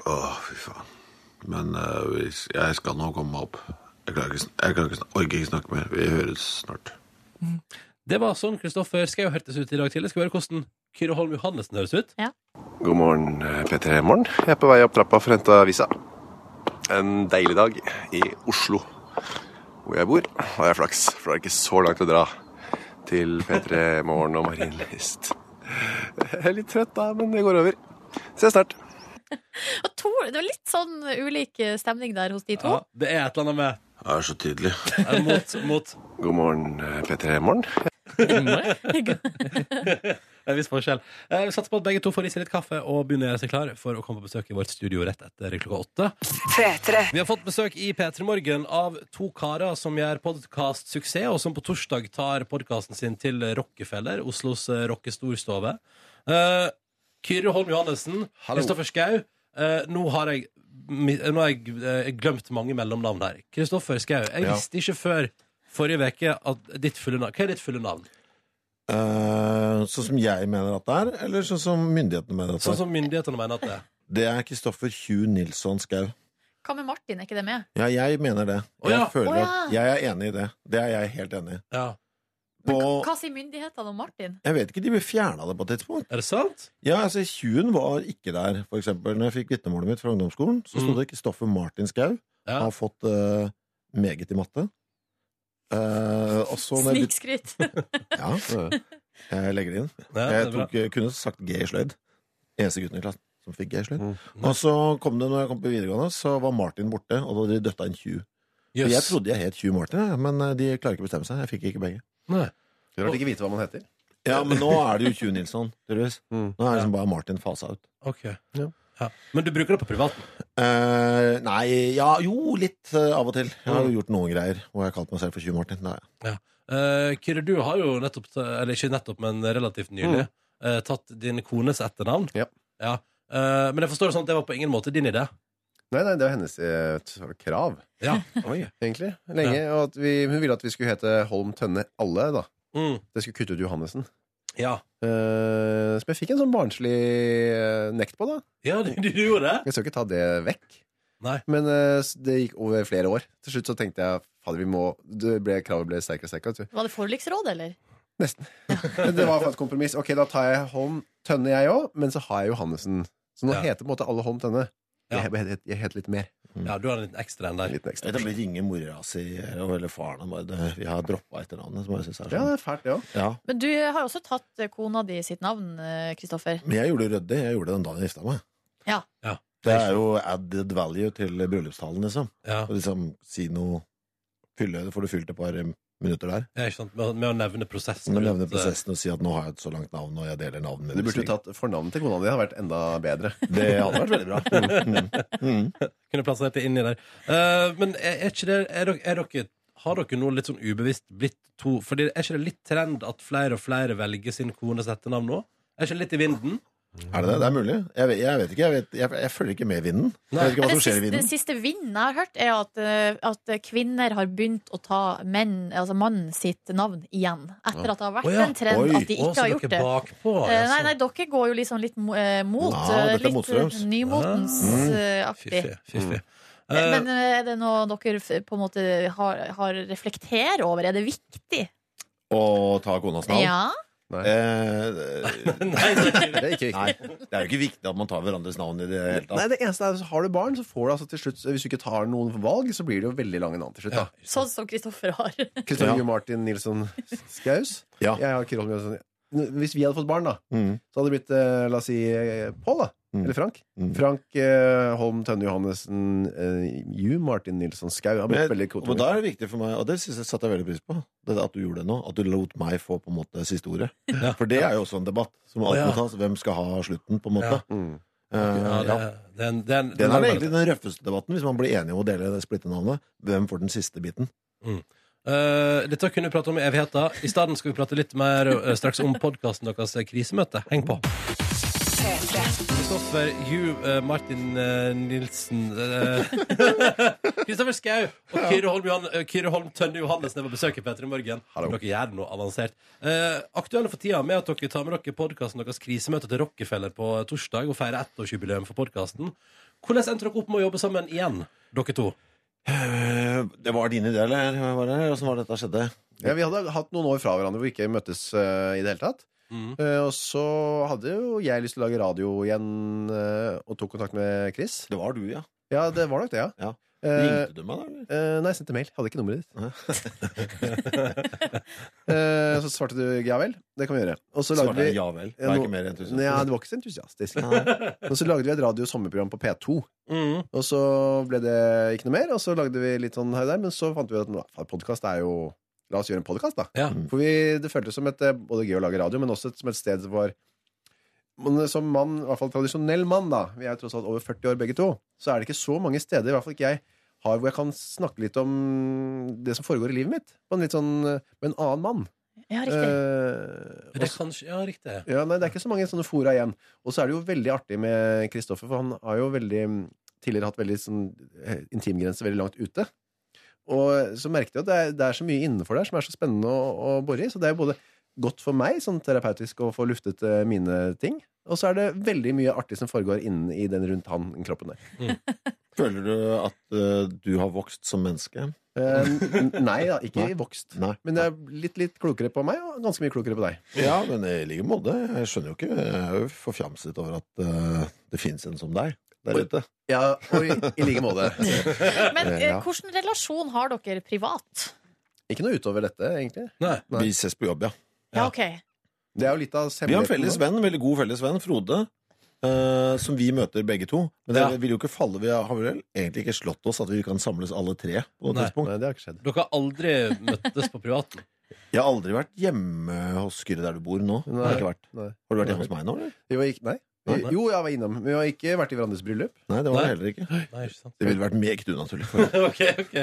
Å, fy faen. Men eh, hvis- jeg skal nå komme meg opp. Jeg, klarer ikke, sn- jeg klarer ikke, sn- orker ikke snakke mer. Vi høres snart. Det var sånn Kristoffer Skau hørtes ut i dag tidlig. Skal vi høre hvordan Kyrre Holm Johannessen høres ut? God morgen, P3 Morgen. Jeg er på vei opp trappa for å hente avisa. En deilig dag i Oslo, hvor jeg bor. Og jeg har flaks, for det er ikke så langt å dra til P3 Morgen og Marienlyst. Jeg er litt trøtt da, men det går over. Ses snart. Og to, det var litt sånn ulik eh, stemning der hos de to. Ja, det er et eller annet med Det er så tydelig. eh, mot, mot God morgen, P3 Morgen. en viss forskjell. Eh, Vi satser på at begge to får i seg litt kaffe og begynner å gjøre seg klar for å komme på besøk i vårt studio rett etter klokka åtte. Vi har fått besøk i P3 Morgen av to karer som gjør podkastsuksess, og som på torsdag tar podkasten sin til Rockefeller, Oslos eh, rockestorstove. Eh, Kyrre Holm Johannessen, Kristoffer Schau. eh, nå har jeg, mi- nå har jeg eh, glemt mange mellomnavn her. Kristoffer Schau, jeg Ja. visste ikke før forrige uke at ditt fulle navn Hva er ditt fulle navn? Eh, sånn som jeg mener at det er, eller sånn som myndighetene mener at det Sånn er? som myndighetene mener at det er. Det er Kristoffer Hugh Nilsson Skau. Hva med Martin, er ikke det med? Ja, jeg mener det. Å Og jeg ja. føler Å at jeg er enig i det. Det er jeg helt enig i. Ja. På, Hva sier myndighetene om Martin? jeg vet ikke, de ble fjerna det på et tidspunkt. Er det sant? Ja, altså Hughen var ikke der, for eksempel. Når jeg fikk vitnemålet mitt fra ungdomsskolen, så sto Mm. det Kristoffer Martin Skau. Ja. Han har fått eh, meget i matte. Eh, og så når jeg, Snikskryt. [laughs] begynte- ja, det- jeg legger det inn. Ja, det Jeg er bra. tok, kunne sagt G i sløyd. Eneste gutten i klassen som fikk G i sløyd. Mm. Og så kom det når jeg kom på videregående, så var Martin borte, og da hadde de døtta inn Hugh. Jøss. Jeg trodde jeg het Hugh Martin, jeg, men eh, de klarer ikke å bestemme seg. Jeg fikk ikke begge. Nei. Rart ikke vite hva man heter. Ja, men nå er det jo Hugh Nilsson, tydeligvis. Mm. Nå er det liksom bare Martin fasa ut. Ok. Ja. Ja. Men du bruker det på privaten? Eh, nei, ja, jo, litt eh, av og til. Jeg Mm. har jo gjort noen greier hvor jeg har kalt meg selv for Hugh Martin. Det har jeg. Eh, Kyrre, du har jo nettopp, ta- eller ikke nettopp, men relativt nylig, eh, tatt din kones etternavn. Ja. Ja. Eh, men jeg forstår det sånn at det var på ingen måte din idé. Nei, nei, det var hennes eh, t- var det krav. Ja. Oi, egentlig. Lenge. Og at vi, hun ville at vi skulle hete Holm Tønne alle, da. Det skulle kutte ut Johannessen. Mm. Ja. Eh, som jeg fikk en sånn barnslig eh, nekt på, da. Ja, du, du gjorde det? Jeg skal ikke ta det vekk. Nei. Men eh, s- det gikk over flere år. Til slutt så tenkte jeg fader, vi må det ble, Kravet ble sterkere og sterkere. vet du. Var det forliksråd, eller? Men Det var faktisk et kompromiss. Ok, da tar jeg Holm Tønne, jeg òg, men så har jeg Johannessen. Så nå heter på en måte alle Holm Tønne. Jeg, jeg, jeg heter litt mer. Ja, du har en liten ekstra en der. Det blir ringe mora si og- eller faren og bare det- Vi har droppa etternavnet, som jeg syns er sånn. Ja, det er fælt, det òg. Ja. Men du har jo også tatt eh, kona di sitt navn, eh, Kristoffer. Men jeg gjorde det ryddig. Jeg gjorde det den dagen jeg gifta meg. Ja. Det er jo added value til bryllupstalen, liksom. Og liksom si noe fylle, Får du fylt et par eh, minutter der? Ja, ikke sant? Med, med å nevne prosessen. Når du nevner rundt, eh, prosessen og si at nå har jeg et så langt navn, og jeg deler navnet med Du burde jo tatt fornavnet til kona di. Det hadde vært enda bedre. Mm. Det hadde vært veldig bra. [laughs] Kunne plassert det inni der. Eh, men er, er ikke det er dere, er dere, Har dere nå litt sånn ubevisst blitt to Fordi Er ikke det litt trend at flere og flere velger sin kones etternavn nå? Er ikke det litt i vinden? Er det det? Det er mulig. Jeg vet, jeg vet ikke. Jeg, vet, jeg, jeg følger ikke med i vinden. Jeg vet ikke hva Den som skjer i siste, vinden. siste vinden jeg har hørt, er at, eh, at kvinner har begynt å ta menn, altså mannen sitt navn igjen. Etter at det har vært Å, ja. en trend Oi. at de Å, ikke har så dere gjort det. bakpå, Eh, altså. Nei, nei, dere går jo liksom litt mo- eh, mot. Ja, eh, dette er litt motstrøms. Ah. nymotens-aktig. Fiffig. fiffig. Eh, Men eh, er det noe dere f- på en måte har, har reflekterer over? Er det viktig? Å ta konas navn? Eh, Ja. Nei. [laughs] [laughs] det er ikke Nei, det er jo ikke viktig at man tar hverandres navn i det hele tatt. Nei, det eneste er, så Har du barn, så får du altså til slutt Hvis du ikke tar noen valg, så blir det jo veldig lange navn til slutt. da Sånn som Kristoffer har. Kristoffer J. Martin Nilsson Skaus. Jeg har Kristoffer Nilsson Hvis vi hadde fått barn, da, så hadde det blitt eh, la oss si eh, Pål, da. Eller Frank. Frank eh, Holm Tønne Johannessen eh, J. Martin Nilsson Skau. Har blitt veldig Men da er det viktig for meg, og det synes jeg satte jeg veldig pris på, det at du gjorde det nå. At du lot meg få på en måte siste ordet. For det er jo også en debatt som Å, alltid ja. må tas. Hvem skal ha slutten, på en måte? Ja. Eh, ja, det, ja. det er en- det er en- Den den er er egentlig den røffeste debatten, hvis man blir enige om å dele det splitte navnet. Hvem får den siste biten? Mm. Eh, dette kunne vi prate om i evigheter. I stedet skal vi prate litt mer eh, straks om podkasten deres eh, krisemøte. Heng på. Kristoffer Ju, eh, Martin eh, Nilsen eh, [laughs] Kristoffer Skau og Kyrre Holm, Johan, eh, Kyrre Holm Tønne Johannessen er på besøk i P3 Morgen. Dere gjør noe avansert. Eh, aktuelle for tida med at dere tar med dere podkasten deres krisemøte til Rockefeller på eh, torsdag og feirer ettårsjubileum for podkasten. Hvordan endte dere opp med å jobbe sammen igjen, dere to? Eh, Det var din idé, eller? Åssen var det dette skjedde? Ja, vi hadde hatt noen år fra hverandre hvor vi ikke møttes eh, i det hele tatt. Eh, og så hadde jo jeg lyst til å lage radio igjen, eh, og tok kontakt med Chris. Det var du, ja. Ja, det var nok det, ja. Ringte du meg da, eller? Eh, nei, jeg sendte mail. Hadde ikke nummeret ditt. Eh, så svarte du ja vel. Det kan vi gjøre. Og så Svarte lagde vi jeg ja vel? Det er no- ikke mer entusiastisk. Nei, det var ikke så entusiastisk. Nei. og så lagde vi et radio- og sommerprogram på P2. Og så ble det ikke noe mer, og så lagde vi litt sånn her og der, men så fant vi ut at podkast er jo La oss gjøre en podkast, da. For vi, det føltes som et eh, både gøy å lage radio, men også et, som et sted som var men som mann, i hvert fall tradisjonell mann, da vi er jo tross alt over 40 år begge to, så er det ikke så mange steder, i hvert fall ikke jeg, har hvor jeg kan snakke litt om Mm, det som foregår i livet mitt, på en litt sånn, med en annen mann. Ja, riktig. Det er kanskje, ja, riktig. Ja, nei, det er ikke så mange sånne fora igjen. Og så er det jo veldig artig med Kristoffer, for han har jo veldig tidligere hatt veldig sånn eh, intimgrense veldig langt ute. Og så merket jeg at det er, det er så mye innenfor der som er så spennende å, å bore i. Så det er jo både godt for meg sånn terapeutisk å få luftet eh, mine ting, og så er det veldig mye artig som foregår innen i den rundt han kroppen der. Føler du at eh, du har vokst som menneske? Eh, n- nei da, ikke vokst. Nei. Men det er litt, litt klokere på meg, og ganske mye klokere på deg. Ja, men i like måte. Jeg skjønner jo ikke Jeg er jo forfjamset over at eh, det fins en som deg der ute. Ja, og i, like måte. Men eh, hvilken relasjon har dere privat? Ikke noe utover dette, egentlig. Vi ses på jobb, ja. Ja, ok. Det er jo litt av Vi har en hemmeligheten, felles da. venn, en veldig god felles venn, Frode, eh, som vi møter begge to. Men det Ja. vil jo ikke falle Vi har vel egentlig ikke slått oss at vi kan samles alle tre på noe Nei. tidspunkt. Nei, det har ikke skjedd. Dere har aldri møttes på privaten? Jeg har aldri vært hjemme hos Kyrre der du bor nå. Har, jeg ikke vært. Nei. har du vært hjemme hos meg nå, eller? Jo, jeg gikk, nei. Jo, jeg var innom, men vi har ikke vært i hverandres bryllup. Nei, det var det heller ikke. Nei, ikke [laughs] sant. Det ville vært meget unaturlig. for meg. ok, ok.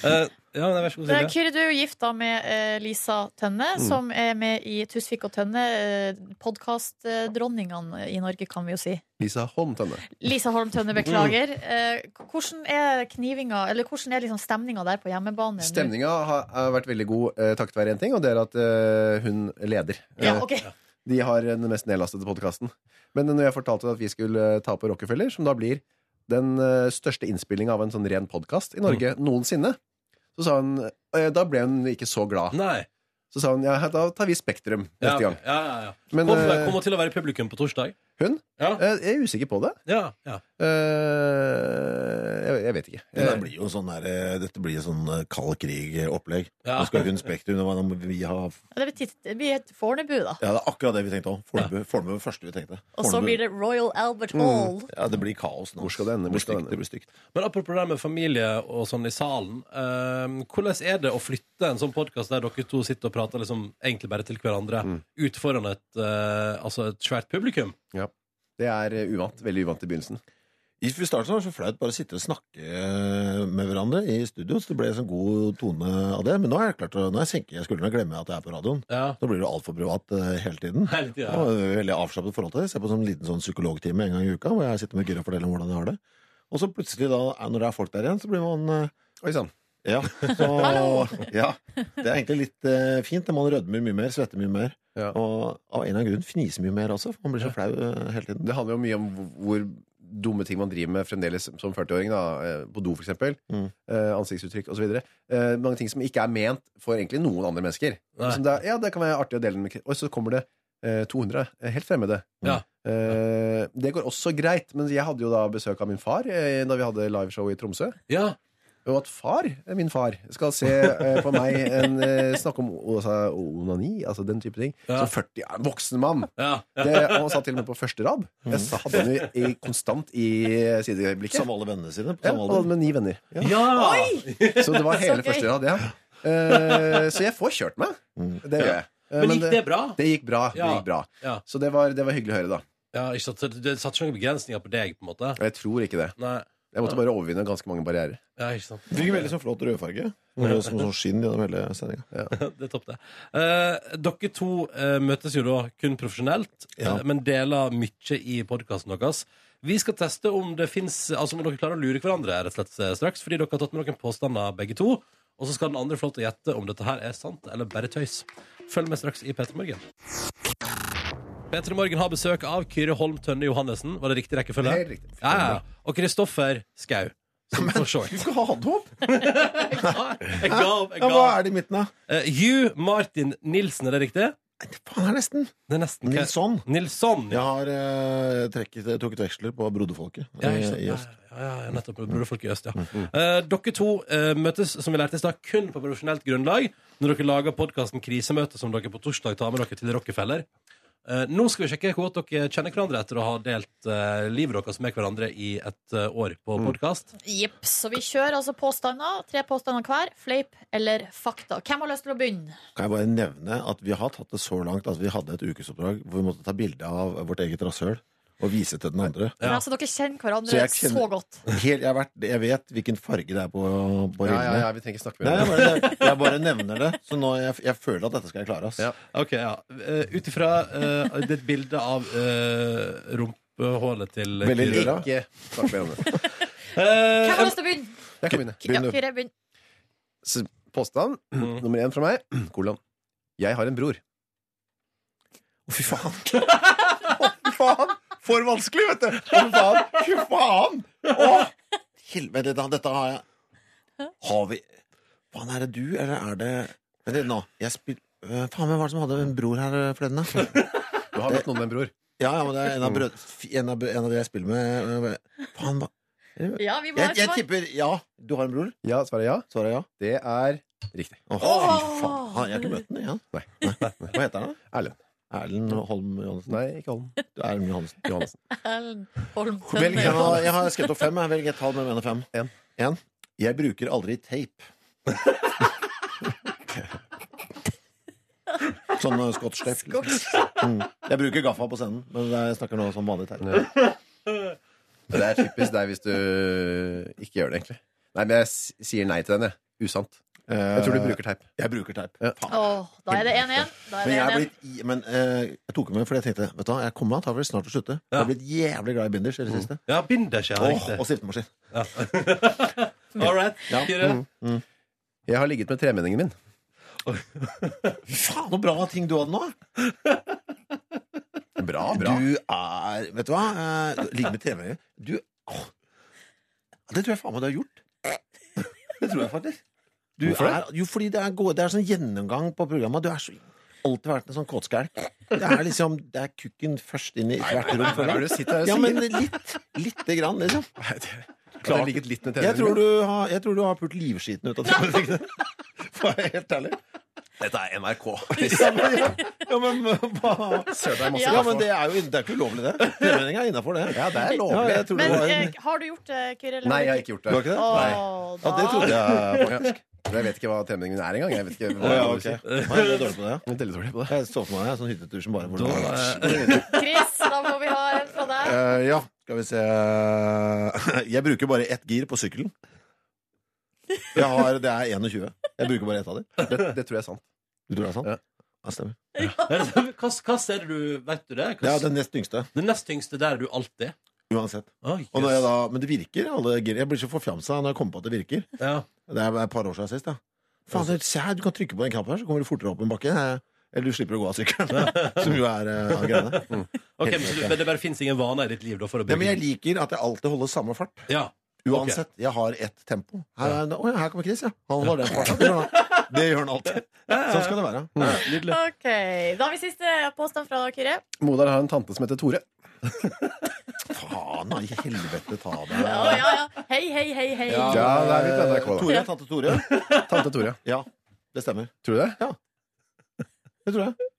Eh, ja, nei, vær så god, Det er Silje. Kyrre, du er jo gift da med eh, Lisa Tønne, Mm. som er med i Tusvik og Tønne. Uh, Podkastdronningene i Norge, kan vi jo si. Lisa Holm Tønne. Lisa Holm Tønne, beklager. Eh, hvordan er knivinga, eller hvordan er liksom stemninga der på hjemmebane? nå? Stemninga har, har vært veldig god eh, takket være én ting, og det er at eh, hun leder. Ja, Eh, ok. De har den mest nedlastede podkasten. Men når jeg fortalte at vi skulle eh, ta på Rockefeller, som da blir den eh, største innspillinga av en sånn ren podkast i Mm. Norge noensinne, så sa hun eh, Da ble hun ikke så glad. Så sa hun ja, da tar vi Spektrum Ja, neste ok. gang. ja, ja, ja. Men, kommer, eh, kommer til å være i publikum på torsdag. Hun? Ja. Eh, Jeg er usikker på det. Ja, ja. Eh, jeg, jeg vet ikke. Men det blir jo sånn der, eh, dette blir jo sånn eh, kald krig-opplegg. Ja. Nå skal hun Spektrum, nå må vi ha Ja, Det blir titt- det blir et Fornebu, da. Ja, det er akkurat det vi tenkte om. Fornebu Fornebu var det første vi tenkte. Og så Fornebu. blir det Royal Albert Hall. Ja, det blir kaos nå. Hvor skal det ende? Det blir stygt. Men apropos det med familie og sånn i salen. eh, hvordan er det å flytte en sånn podkast der dere to sitter og prater liksom egentlig bare til hverandre, ut foran et, eh, altså et svært publikum? Ja. Det er eh, uvant. Veldig uvant i begynnelsen. I I starten var det så flaut bare å sitte og snakke eh, med hverandre i studio, så det ble en sånn god tone av det. Men nå er jeg klart, å- nå er jeg senker jeg skuldrene og glemmer at jeg er på radioen. Nå blir det altfor privat eh, hele tiden. [laughs] Hele tiden, ja. Og jeg er veldig avslappet forhold til det. Jeg ser på som en liten sånn psykologtime en gang i uka, hvor jeg sitter med Kyrre og forteller om hvordan jeg har det. Og så plutselig, da, er- når det er folk der igjen, så blir man eh, Oi sann. Ja. Hallo! Så, ja. Det er egentlig litt eh, fint. men Man rødmer mye mer, svetter mye mer. Og av en eller annen grunn fniser mye mer også, for man blir så flau eh, hele tiden. Det handler jo mye om hvor- hvor dumme ting man driver med fremdeles som 40-åring. da, eh, På do, for eksempel. Mm. Eh, ansiktsuttrykk osv. Eh, mange ting som ikke er ment for egentlig noen andre mennesker. Nei. Som det, er, ja, det kan være artig å dele den med Og så kommer det eh, 200 eh, helt fremmede. Mm. Ja. Eh, det går også greit, men jeg hadde jo da besøk av min far eh, da vi hadde liveshow i Tromsø. Og at far, eh, min far, skal se eh, på meg en, eh, snakke om o- altså, onani, altså den type ting, Ja. som 40 er en voksen mann. Ja. Det, og han satt til og med på første rad. Jeg sa- hadde han jo i, konstant i sideblikket. Som alle vennene sine. På Ja, samme alder. og med ni venner. Ja! Så det var hele Så gøy. første rad, ja. Eh, så jeg får kjørt meg. Mm. Det gjør jeg. Eh, Men gikk det bra? Det gikk bra. Det Ja. gikk bra. Ja. Så det var, det var hyggelig å høre, da. Ja, ikke sant? Så Det det satte ikke noen begrensninger på deg, på en måte? Jeg tror ikke det. Nei. Jeg måtte bare overvinne ganske mange barrierer. Ja, ikke sant. Fikk veldig sånn flott rødfarge. Som som sånn skinn gjennom hele sendinga. [laughs] det er topp, det. Eh, dere to eh, møtes jo da kun profesjonelt, Ja. eh, men deler mye i podkasten deres. Vi skal teste om det finnes, altså om dere klarer å lure hverandre rett og slett eh, straks, fordi dere har tatt med noen påstander begge to. Og så skal den andre få lov til å gjette om dette her er sant eller bare tøys. Følg med straks i P3 Morgen. P3 Morgen har besøk av Kyrre Holm Tønne Johannessen. Var det riktig rekkefølge? Helt riktig. Ja, ja. Og Kristoffer Skau. Som for short. [laughs] Du skal ha det opp! Jeg ga opp. Jeg Ja, ga hva opp. er det i midten, da? Eh, Hugh Martin Nilsen, er det riktig? Faen, det er nesten. Det er nesten Nilsson. Nilsson. Jeg har eh, trekket, trukket veksler på broderfolket Ja, i, ikke sant. i øst. Mm, Ja, ja, ja, nettopp. Broderfolk i øst, ja. Eh, dere to eh, møtes som vi lærte i stad, kun på profesjonelt grunnlag når dere lager podkasten Krisemøte, som dere på torsdag tar med dere til Rockefeller. Eh, nå skal vi sjekke hvor godt dere kjenner hverandre etter å ha delt eh, livet deres med hverandre i et eh, år på Mm. podkast. Jepp. Så vi kjører altså påstander. Tre påstander hver. Fleip eller fakta. Hvem har lyst til å begynne? Kan jeg bare nevne at vi har tatt det så langt at vi hadde et ukesoppdrag hvor vi måtte ta bilde av vårt eget rasshøl og vise til den andre. Men altså, dere kjenner hverandre Så så, jeg kjenner- godt. Helt, jeg, har vært, jeg vet hvilken farge det er på, på Ja, rillene. ja, ja, vi trenger ikke snakke Nei, mer jeg om det. bare, jeg bare nevner det. Så nå jeg, jeg føler at dette skal jeg klare. Ass. Ok, ja. Uh, Ut ifra eh, det er et bilde av uh, rumpehullet til Veldig lilla. Ikke snakk mer om det. Hvem har lyst til å begynne? Jeg kan begynne. Ja, Kyrre, begynn. Så Påstand Mm. nummer én fra meg. [clears throat] Kolon. Jeg har en bror. Å, fy [laughs] faen! Fy faen! For vanskelig, vet du! Fy faen! Fy faen! Å, helvete, da, dette har jeg Har vi Faen, er det du, eller er det Vent litt nå. Jeg spil... Øh, faen, hvem var det som hadde en bror her øh, forleden, da? Du Eh, har møtt noen med en bror. Ja, ja, men det er en av, brød... f- en av, br- en av de jeg spiller med øh, Faen, hva Ja, vi må ha jeg, et jeg svar. tipper ja. Du har en bror? Ja, svaret er ja. Svaret er ja. Det er riktig. Å, fy Åh! faen. Han- Jeg har ikke møtt den igjen. Nei. Hva heter han, da? Erlend. Erlend Holm Johannessen? Nei, ikke Holm. Du er Erlend Johannessen. Johannessen. Ellen Holm Velg, Tønne. jeg, har, jeg har skrevet opp fem. jeg. Velg et tall mellom én og fem. En. Jeg bruker aldri teip. Sånn eh, scotch tape. Mm. Jeg bruker gaffa på scenen, men jeg snakker nå som vanlig her. Det er typisk deg hvis du eh, ikke gjør det, egentlig. Nei, men jeg s- sier nei til den, jeg. Usant. Eh, Jeg tror du bruker teip. Jeg bruker teip. Åh, da er det 1-1. Da er Men, det jeg, 1-1. er blitt, i- men eh, jeg tok den med fordi jeg tenkte Vet du hva, jeg kommer antakelig snart til å slutte. Jeg har blitt jævlig glad i binders i det siste. Mm. Ja, binders, ja, Åh, riktig. og stiftemaskin. All right. Ja. Kyrre? Mm. Jeg har ligget med tremenningen min. Faen, så bra ting du hadde nå! Bra, bra. Du er Vet du hva? Eh, Ligg med TV. Du åh. Det tror jeg faen meg du har gjort. Det tror jeg faktisk. Du Hvorfor det? Er, jo, fordi det er, gode, det er sånn gjennomgang på programmet. Du er så alltid vært en sånn kåtskalk. Det er liksom Det er kukken først inn i hvert rom. føler jeg. Hva er det du sitter her og ja, sier? men litt. Lite grann, liksom. At jeg har ligget litt med Jeg tror tremenningen du min. har, jeg tror du har pult livskiten ut av TV-sikten. [laughs] For å være helt ærlig. Dette er NRK. Ja, men, ja. ja, men hva Søren, det er masse [laughs] Ja, derfor. men det er jo det er ikke ulovlig, det. Tremenninga er innafor, det. Ja, det er lovlig. Ja, jeg tror Men det var en... eh, har du gjort det, Kyrre? Nei, jeg har ikke gjort det. Du har ikke det? Åh, Nei. da- Ja, det trodde jeg faktisk. Men jeg vet ikke hva tremenningen min er engang. Jeg vet ikke Å, hva ja, ok. Nei, jeg er dårlig på det. Jeg er veldig dårlig på det. Jeg så for meg en sånn hyttetur som bare Chris, da må vi ha en fra deg. Eh, Ja, skal vi se [laughs] Jeg bruker bare ett gir på sykkelen. Jeg har, det er 21. Jeg bruker bare ett av dem. Det, det tror jeg er sant. Du tror det er sant? Ja, stemmer. sånn- Hva, hva ser du Vet du det? Hva, Det er den nest yngste. Den nest yngste der er du alltid Uansett. Oi, Og når jeg da, men det virker, alle gir. Jeg blir så forfjamsa når jeg kommer på at det virker. Det er et par år siden sist, da. Faen, så- se her, du kan trykke på den knappen her, så kommer du fortere opp en bakke. Eh, Eller du slipper å gå av sykkelen. [laughs] Som jo er eh, av [laughs] greiene. Mm. Ok, Helt men, så klart, du, ja. men det bare finnes ingen vaner i ditt liv da for å Ja, men bygge jeg liker at jeg alltid holder samme fart. Ja, ok. Uansett. Jeg har ett tempo. Her, er- å, ja, her kommer Chris, ja. Han holder den farten. Det [laughs] gjør han. Det gjør han alltid. Sånn skal det være. Nydelig. Ok, Da har vi siste påstand fra Kyrre. Modar har en tante som heter Tore. Faen, da, i helvete ta Å, deg. ja, ja. Hei, hei, hei, hei. Ja, da er vi på NRK, da. Tore, tante Tore. Tante Tore. Ja, det stemmer. Tror du det? Ja. Det tror jeg.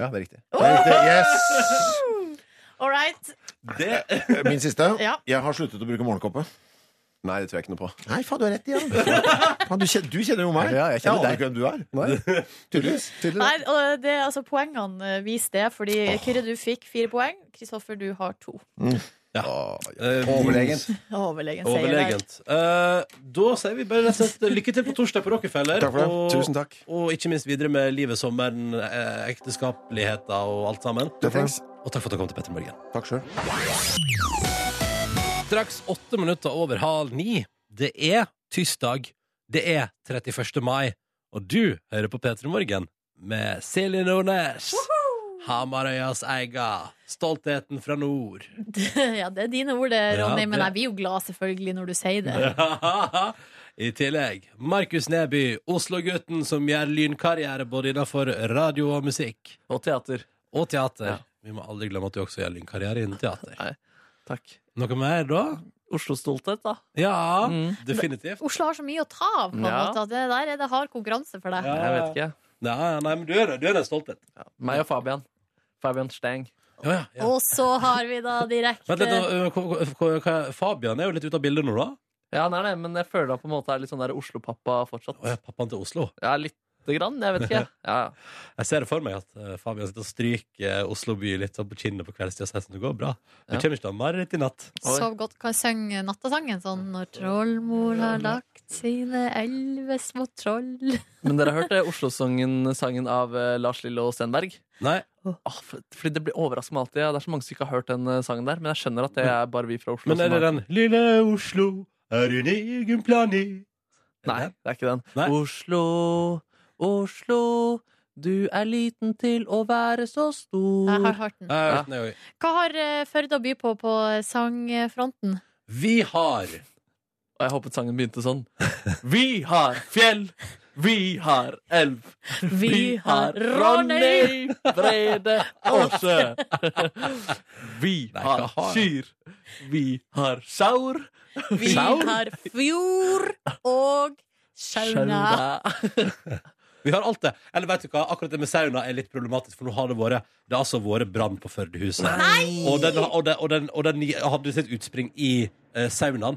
Ja, det er riktig. Det er riktig. Yes! All right. Min siste. Ja. Jeg har sluttet å bruke morgenkoppe. Nei, det tror jeg ikke noe på. Nei, faen, du har rett igjen. Faen, du, kjenner, du kjenner jo meg. Ja, jeg kjenner aner ikke hvem du er. Tydeligvis. Nei, og det, altså, poengene eh, viser det, fordi Kyrre, du fikk fire poeng. Kristoffer, du har to. Ja. Eh, Overlegent. Overlegen sier det. Overlegent. Eh, da sier vi bare rett og slett lykke til på torsdag på Rockefeller. Takk for det. Og, Tusen takk. og ikke minst videre med livet, sommeren, eh, ekteskapeligheten og alt sammen. Det trengs. Og takk for at du kom til Petter Morgen. Takk sjøl. Straks åtte minutter over halv ni. Det er tirsdag. Det er 31. mai. Og du hører på P3 Morgen med Silje Nordnes. Hamarøyas eiga. Stoltheten fra nord. [laughs] ja, det er dine ord, det, Ja, Ronny. Men det- jeg blir jo glad, selvfølgelig, når du sier det. [laughs] I tillegg Markus Neby, Oslo-gutten som gjør lynkarriere både innenfor radio og musikk. Og teater. Og teater. Vi må aldri glemme at du også gjør lynkarriere innen teater. Nei, takk. Noe mer, da? Oslo-stolthet, da. Ja, definitivt. Oslo har så mye å ta av. På en Ja. måte. at Det der er det hard konkurranse for deg. Ja. Jeg vet ikke. Nei, nei, men du er, du er en stolthet. Meg og Fabian. Fabian Stang. Ja, ja, ja. Og så har vi da direkte Vent litt, nå, øh, hva- hva- hva- Fabian er jo litt ute av bildet nå, da. Ja, han er det, men jeg føler han på en måte er litt sånn der Oslo-pappa fortsatt. Å, ja, pappaen til Oslo. Ja, lite grann. Jeg vet [laughs] ikke. Ja, ja. Jeg ser det for meg at øh, Fabian sitter og stryker øh, Oslo by litt sånn på kinnet på kveldstid og sier sånn, det går bra. Du Ja. kommer ikke til å ha mareritt i natt. Sov godt. Kan jeg synge nattasangen sånn Når trollmor har lagt sine elleve små troll Men dere har hørt eh, Oslo-sangen sangen av eh, Lars Lillo Stenberg? Nei. Ah, for, fordi det blir overraskende med alltid. Det er så mange som ikke har hørt den eh, sangen der, men jeg skjønner at det er bare vi fra Oslo. Men er som det har- den Lille Oslo er en egen planet Nei, det er ikke den. Oslo, Oslo, du er liten til å være så stor. Jeg har hørt den. Jeg vet den, jeg også. Hva har eh, Førde å by på på sangfronten? Vi har Og jeg håpet sangen begynte sånn. Vi har fjell, vi har elv. Vi har Ronny, Brede Aase. [laughs] Vi Nei, har hva har jeg? kyr, vi har saur. Vi har fjord og sauna. Vi har alt det. Eller vet du hva, akkurat det med sauna er litt problematisk, for nå har det vært Det har altså vært brann på Førdehuset. Nei! Og den, og den, og den, og den hadde sitt utspring i eh, saunaen.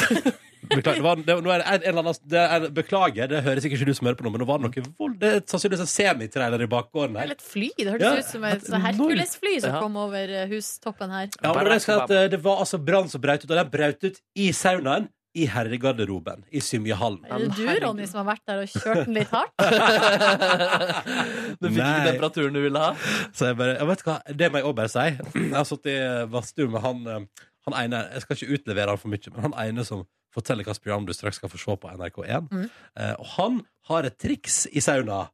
[laughs] Beklager, det var, det, var- nå er det en, en eller annen, det er, beklager, det høres ikke du som hører på nå, men nå var det noe vold. Det er sannsynligvis en semitrailer i bakgården her. Eller et fly. Det hørtes Ja, ut som et et sånn Hercules-fly som Ja. kom over eh, hustoppen her. Ja, men det, skal at, eh, det var altså brann som braut ut, og den braut ut i saunaen i herregarderoben i Symjehallen. Er det du, Ronny, som har vært der og kjørt den litt hardt? [laughs] Du fikk ikke Nei. temperaturen du ville ha. Så jeg bare, jeg vet hva, det må jeg også bare si. Jeg har sittet i badstue med han, eh, han ene Jeg skal ikke utlevere han for mye, men han ene som forteller hvilket program du straks skal få se på NRK1. Mm. Eh, og han har et triks i sauna.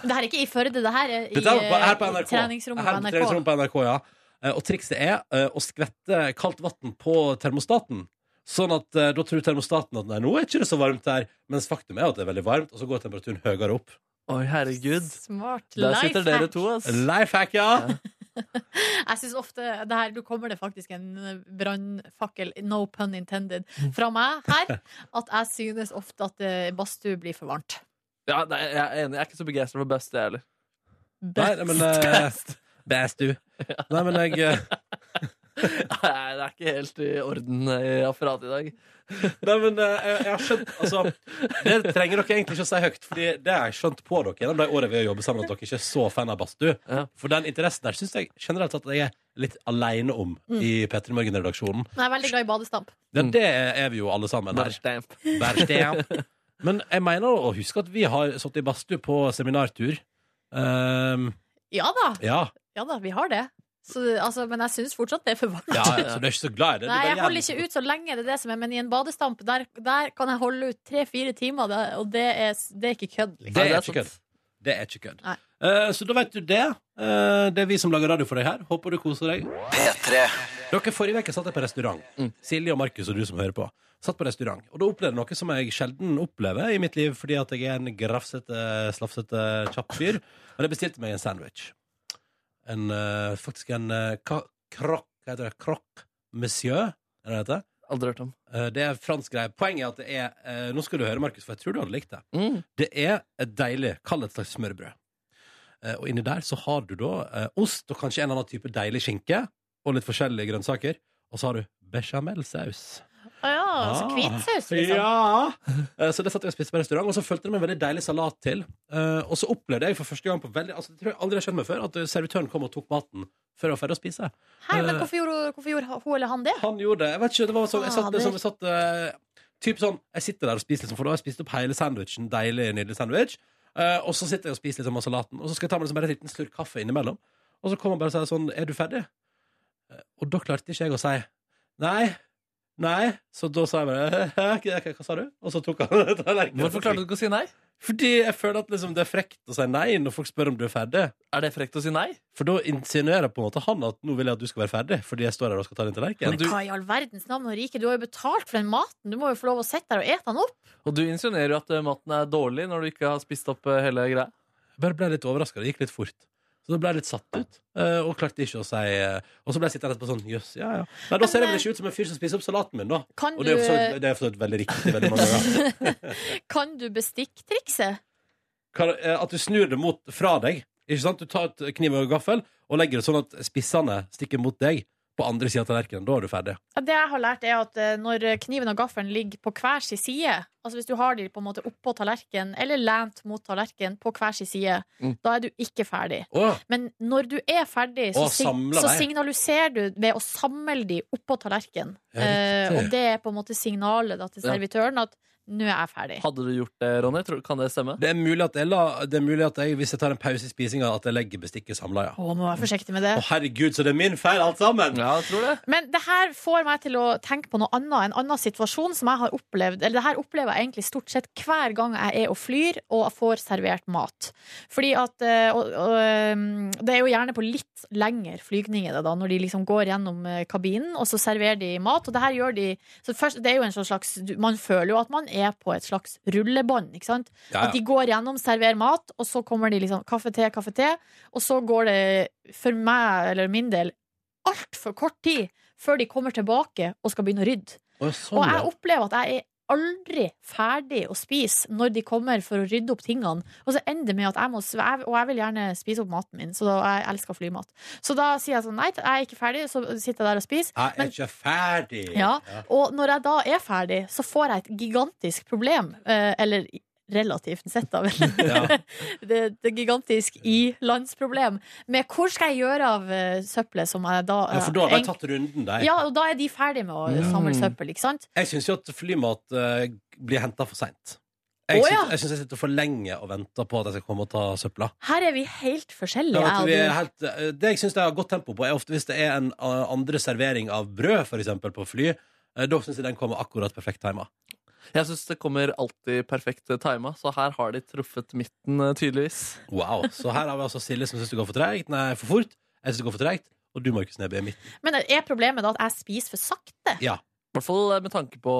Men det her er ikke i Førde, det her er i, Dette er på, her på eh, i NRK. treningsrommet på her på NRK. treningsrommet på NRK ja. Eh, Og trikset er eh, å skvette kaldt vann på termostaten. Sånn at eh, da tror termostaten at nei, nå er ikke det så varmt her, mens faktum er at det er veldig varmt, og så går temperaturen høyere opp. Oi, herregud. Smart. Der sitter Lifehack. dere to, ass. Lifehack, ja. Jeg synes ofte det her, Nå kommer det faktisk en eh, brannfakkel, no pun intended, fra meg [laughs] her. At jeg synes ofte at eh, badstue blir for varmt. Ja, nei, jeg er enig. Jeg er ikke så begeistra for Bust, jeg heller. Nei, nei, men eh, Best [laughs] du. Nei, men jeg eh, [laughs] Nei, det er ikke helt i orden eh, i apparatet i dag. Nei, men eh, jeg, jeg har skjønt altså, Det trenger dere egentlig ikke å si høyt, Fordi det har jeg skjønt på dere gjennom de årene vi har jobbet sammen, at dere ikke er så fan av badstue. For den interessen der syns jeg generelt at jeg er litt aleine om Mm. i P3 Morgen-redaksjonen. Men jeg er veldig glad i badestamp. Ja, det er vi jo alle sammen her. Bærstemp. [laughs] Men jeg mener å huske at vi har sittet i badstue på seminartur. Ehm, Ja da, ja. ja da, vi har det. Så, altså, men jeg synes fortsatt det er for varmt. ja, ja, så du er ikke så glad i det? Du Nei, bare jeg holder gjerne- ikke ut så lenge, det er det som er. Men i en badestamp, der, der kan jeg holde ut tre-fire timer, det, og det er, det er ikke kødd. Det er ikke kødd. Det er ikke kødd. Nei. Eh, så da vet du det. Eh, det er vi som lager radio for deg her. Håper du koser deg. Dere Forrige uke satt jeg på restaurant. Silje og Markus og du som hører på. Satt på restaurant, og Da opplevde jeg noe som jeg sjelden opplever i mitt liv, fordi at jeg er en grafsete, slafsete, kjapp fyr. Men jeg bestilte meg en sandwich. En, eh, faktisk en uh, krokk Hva heter det? Krokk monsieur? Er det det heter? Aldri hørt om. Eh, Det er en fransk greie. Poenget er at det er eh, Nå skal du høre, Markus, for jeg tror du hadde likt det. Mm. Det er et deilig Kall det et slags smørbrød. Eh, Og inni der så har du da eh, ost og kanskje en eller annen type deilig skinke og litt forskjellige grønnsaker. Og så har du bechamelsaus. Å ja, så Ah. hvitsaus, liksom. Ja. Eh, Så det satt jeg og spiste på restaurant, og så fulgte det med en veldig deilig salat til. Eh, Og så opplevde jeg for første gang på veldig Altså, det tror jeg aldri har skjedd meg før, at servitøren kom og tok maten før jeg var ferdig å spise. Hei, men Eh, hvorfor gjorde, hvorfor gjorde hun eller han det? han gjorde det. Jeg vet ikke, det var sånn, jeg satt, Fader. liksom, jeg satt eh, Typ sånn, jeg sitter der og spiser liksom, For da har jeg spist opp hele sandwichen, deilig, nydelig sandwich Eh, Og så sitter jeg og spiser liksom av salaten Og så skal jeg ta meg liksom, bare en liten slurk kaffe innimellom Og så kommer han bare og sier sånn, er du ferdig? Eh, Og da klarte ikke jeg å si Nei, nei Så da sa jeg bare, «Eh, «Hæ, hæ, hva, hva sa du? Og så tok han [laughs] tallerkenen. Hvorfor klarte du ikke å si nei? Fordi jeg føler at liksom, det er frekt å si nei Når folk spør om du er ferdig Er det frekt å si nei? For da insinuerer på en måte han at Nå vil jeg at du skal være ferdig Fordi jeg står her og skal ta din tallerken Men hva i all verdens navn og rike? Du har jo betalt for den maten. Du må jo få lov å sitte der og ete den opp. Og du insinuerer jo at eh, maten er dårlig når du ikke har spist opp eh, hele greia. Jeg bare ble litt overraska. Det gikk litt fort. Så da ble jeg litt satt ut, eh, og klarte ikke å si eh, Og så ble jeg sittende etterpå sånn Jøss, ja, ja. Nei, da ser jeg vel ikke ut som en fyr som spiser opp salaten min, da. Kan Og det er jo eh, du- eh, for så vidt- det er for så vidt veldig riktig veldig mange [laughs] ganger. Kan du bestikktrikset? Kan- eh, At du snur det mot fra deg. Ikke sant? Du tar et kniv og gaffel og legger det sånn at spissene stikker mot deg på andre sida av tallerkenen. Da er du ferdig. Ja, det jeg har lært, er at eh, når kniven og gaffelen ligger på hver sin side, altså hvis du har de på en måte oppå tallerkenen eller lent mot tallerkenen på hver sin side, Mm. da er du ikke ferdig. Å. Men når du er ferdig, så, Å, sig- samle så deg. signaliserer du ved å samle de oppå tallerkenen. Ja, Eh, riktig. og det er på en måte signalet da, til Ja. servitøren at nå er jeg ferdig. Hadde du gjort det, Ronny? Tror- Kan det stemme? Det er mulig at jeg, la, det er mulig at jeg hvis jeg tar en pause i spisinga, at jeg legger bestikket samla, ja. Å, må være forsiktig med det. Å, herregud, så det er min feil, alt sammen! Ja, jeg tror det. Men det her får meg til å tenke på noe annet, en annen situasjon som jeg har opplevd. Eller det her opplever jeg egentlig stort sett hver gang jeg er og flyr og får servert mat. Fordi at eh, og, og, ehm, Det er jo gjerne på litt lengre flygninger, da, når de liksom går gjennom eh, kabinen, og så serverer de mat. Og det her gjør de så først, det er jo en sånn slags, du- Man føler jo at man er på et slags rullebånd, ikke sant? Ja, ja. At de går gjennom, serverer mat, og så kommer de liksom kaffe, te, kaffe, te. Og så går det, for meg eller min del, altfor kort tid før de kommer tilbake og skal begynne å rydde. Å, sånn, og ja. jeg opplever at jeg er aldri ferdig å spise når de kommer for å rydde opp tingene. Og så ender det med at jeg må sveve, og jeg vil gjerne spise opp maten min, så da, jeg elsker flymat. Så da sier jeg sånn nei, jeg er ikke ferdig, så sitter jeg der og spiser. Jeg er ikke ferdig! Ja, og når jeg da er ferdig, så får jeg et gigantisk problem. Eh, eller relativt sett, [laughs] da vel. det, det er gigantisk i-landsproblem. Med hvor skal jeg gjøre av eh, søppelet som jeg da Ja, for da har eh, de tatt Mm. runden der. Ja, og da er de ferdig med å Ja. samle søppel, ikke sant? Jeg syns jo at flymat eh, blir henta for seint. Jeg Å, syns ja. jeg, syns jeg sitter for lenge og venter på at jeg skal komme og ta søpla. Her er vi helt forskjellige. Ja, jeg at og vi er du. helt, eh, det jeg syns de har godt tempo på, er ofte hvis det er en eh, andre servering av brød, f.eks. på fly. eh, Da syns jeg den kommer akkurat perfekt tima. Jeg syns det kommer alltid perfekt eh, tima, så her har de truffet midten, eh, tydeligvis. Wow. Så her har vi altså Silje som syns det går for treigt. Nei, for fort. Jeg syns det går for treigt. Og du, Markus Neby, er midten. Men er problemet da at jeg spiser for sakte? Ja. I hvert fall eh, med tanke på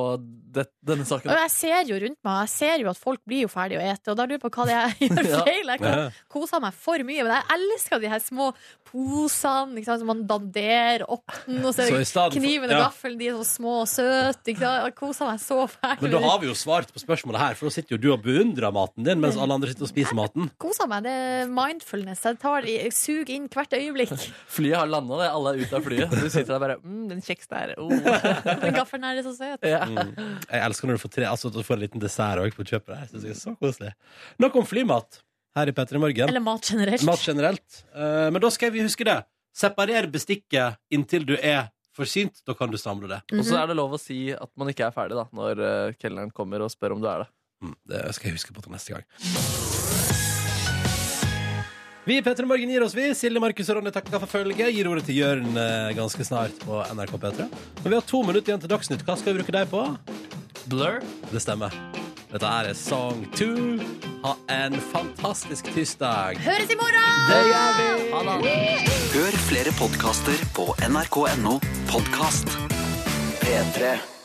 det, denne saken. Og jeg ser jo rundt meg, jeg ser jo at folk blir jo ferdig å ete, og da lurer jeg på hva det er [laughs] jeg gjør Ja. feil. Jeg Ja. kan kosa meg for mye, men jeg elsker de her små posene ikke sant, som man danderer opp den, og så er Så i stedet for- kniven og ja. gaffelen, de er så små og søte. Ikke sant? Jeg koser meg så fælt. Men da har vi jo svart på spørsmålet her, for da sitter jo du og beundrer maten din, mens alle andre sitter og spiser maten. Koser meg, det er mindfulness. Jeg tar det, jeg suger inn hvert øyeblikk. Flyet har landa, det. Alle er ute av flyet. Du sitter der bare mm, Den kjeksen her. Oh. [laughs] Den gaffelen her er så søt. Mm. Jeg elsker når du får, tre, altså, at du får en liten dessert også på kjøpet. der. Jeg synes det er så koselig Nok om flymat her i P3 Morgen. Eller mat generelt. Mat generelt. Eh, men da skal vi huske det. Separer bestikket inntil du er forsynt. Da kan du samle det. Og så er det lov å si at man ikke er ferdig, da, når eh, kelneren kommer og spør om du er det. Mm, Det skal jeg huske på til neste gang. Vi i P3 Morgen gir oss, vi. Silje, Markus og Ronny takker for følget. Gir ordet til Jørn eh, ganske snart på NRK P3. Men vi har to minutter igjen til Dagsnytt. Hva skal vi bruke deg på? Blur. Det stemmer. Dette her er Song 2. Ha en fantastisk tirsdag. Høres i morgen! Det gjør vi! Ha det. Hør flere podkaster på nrk.no podkast. P3.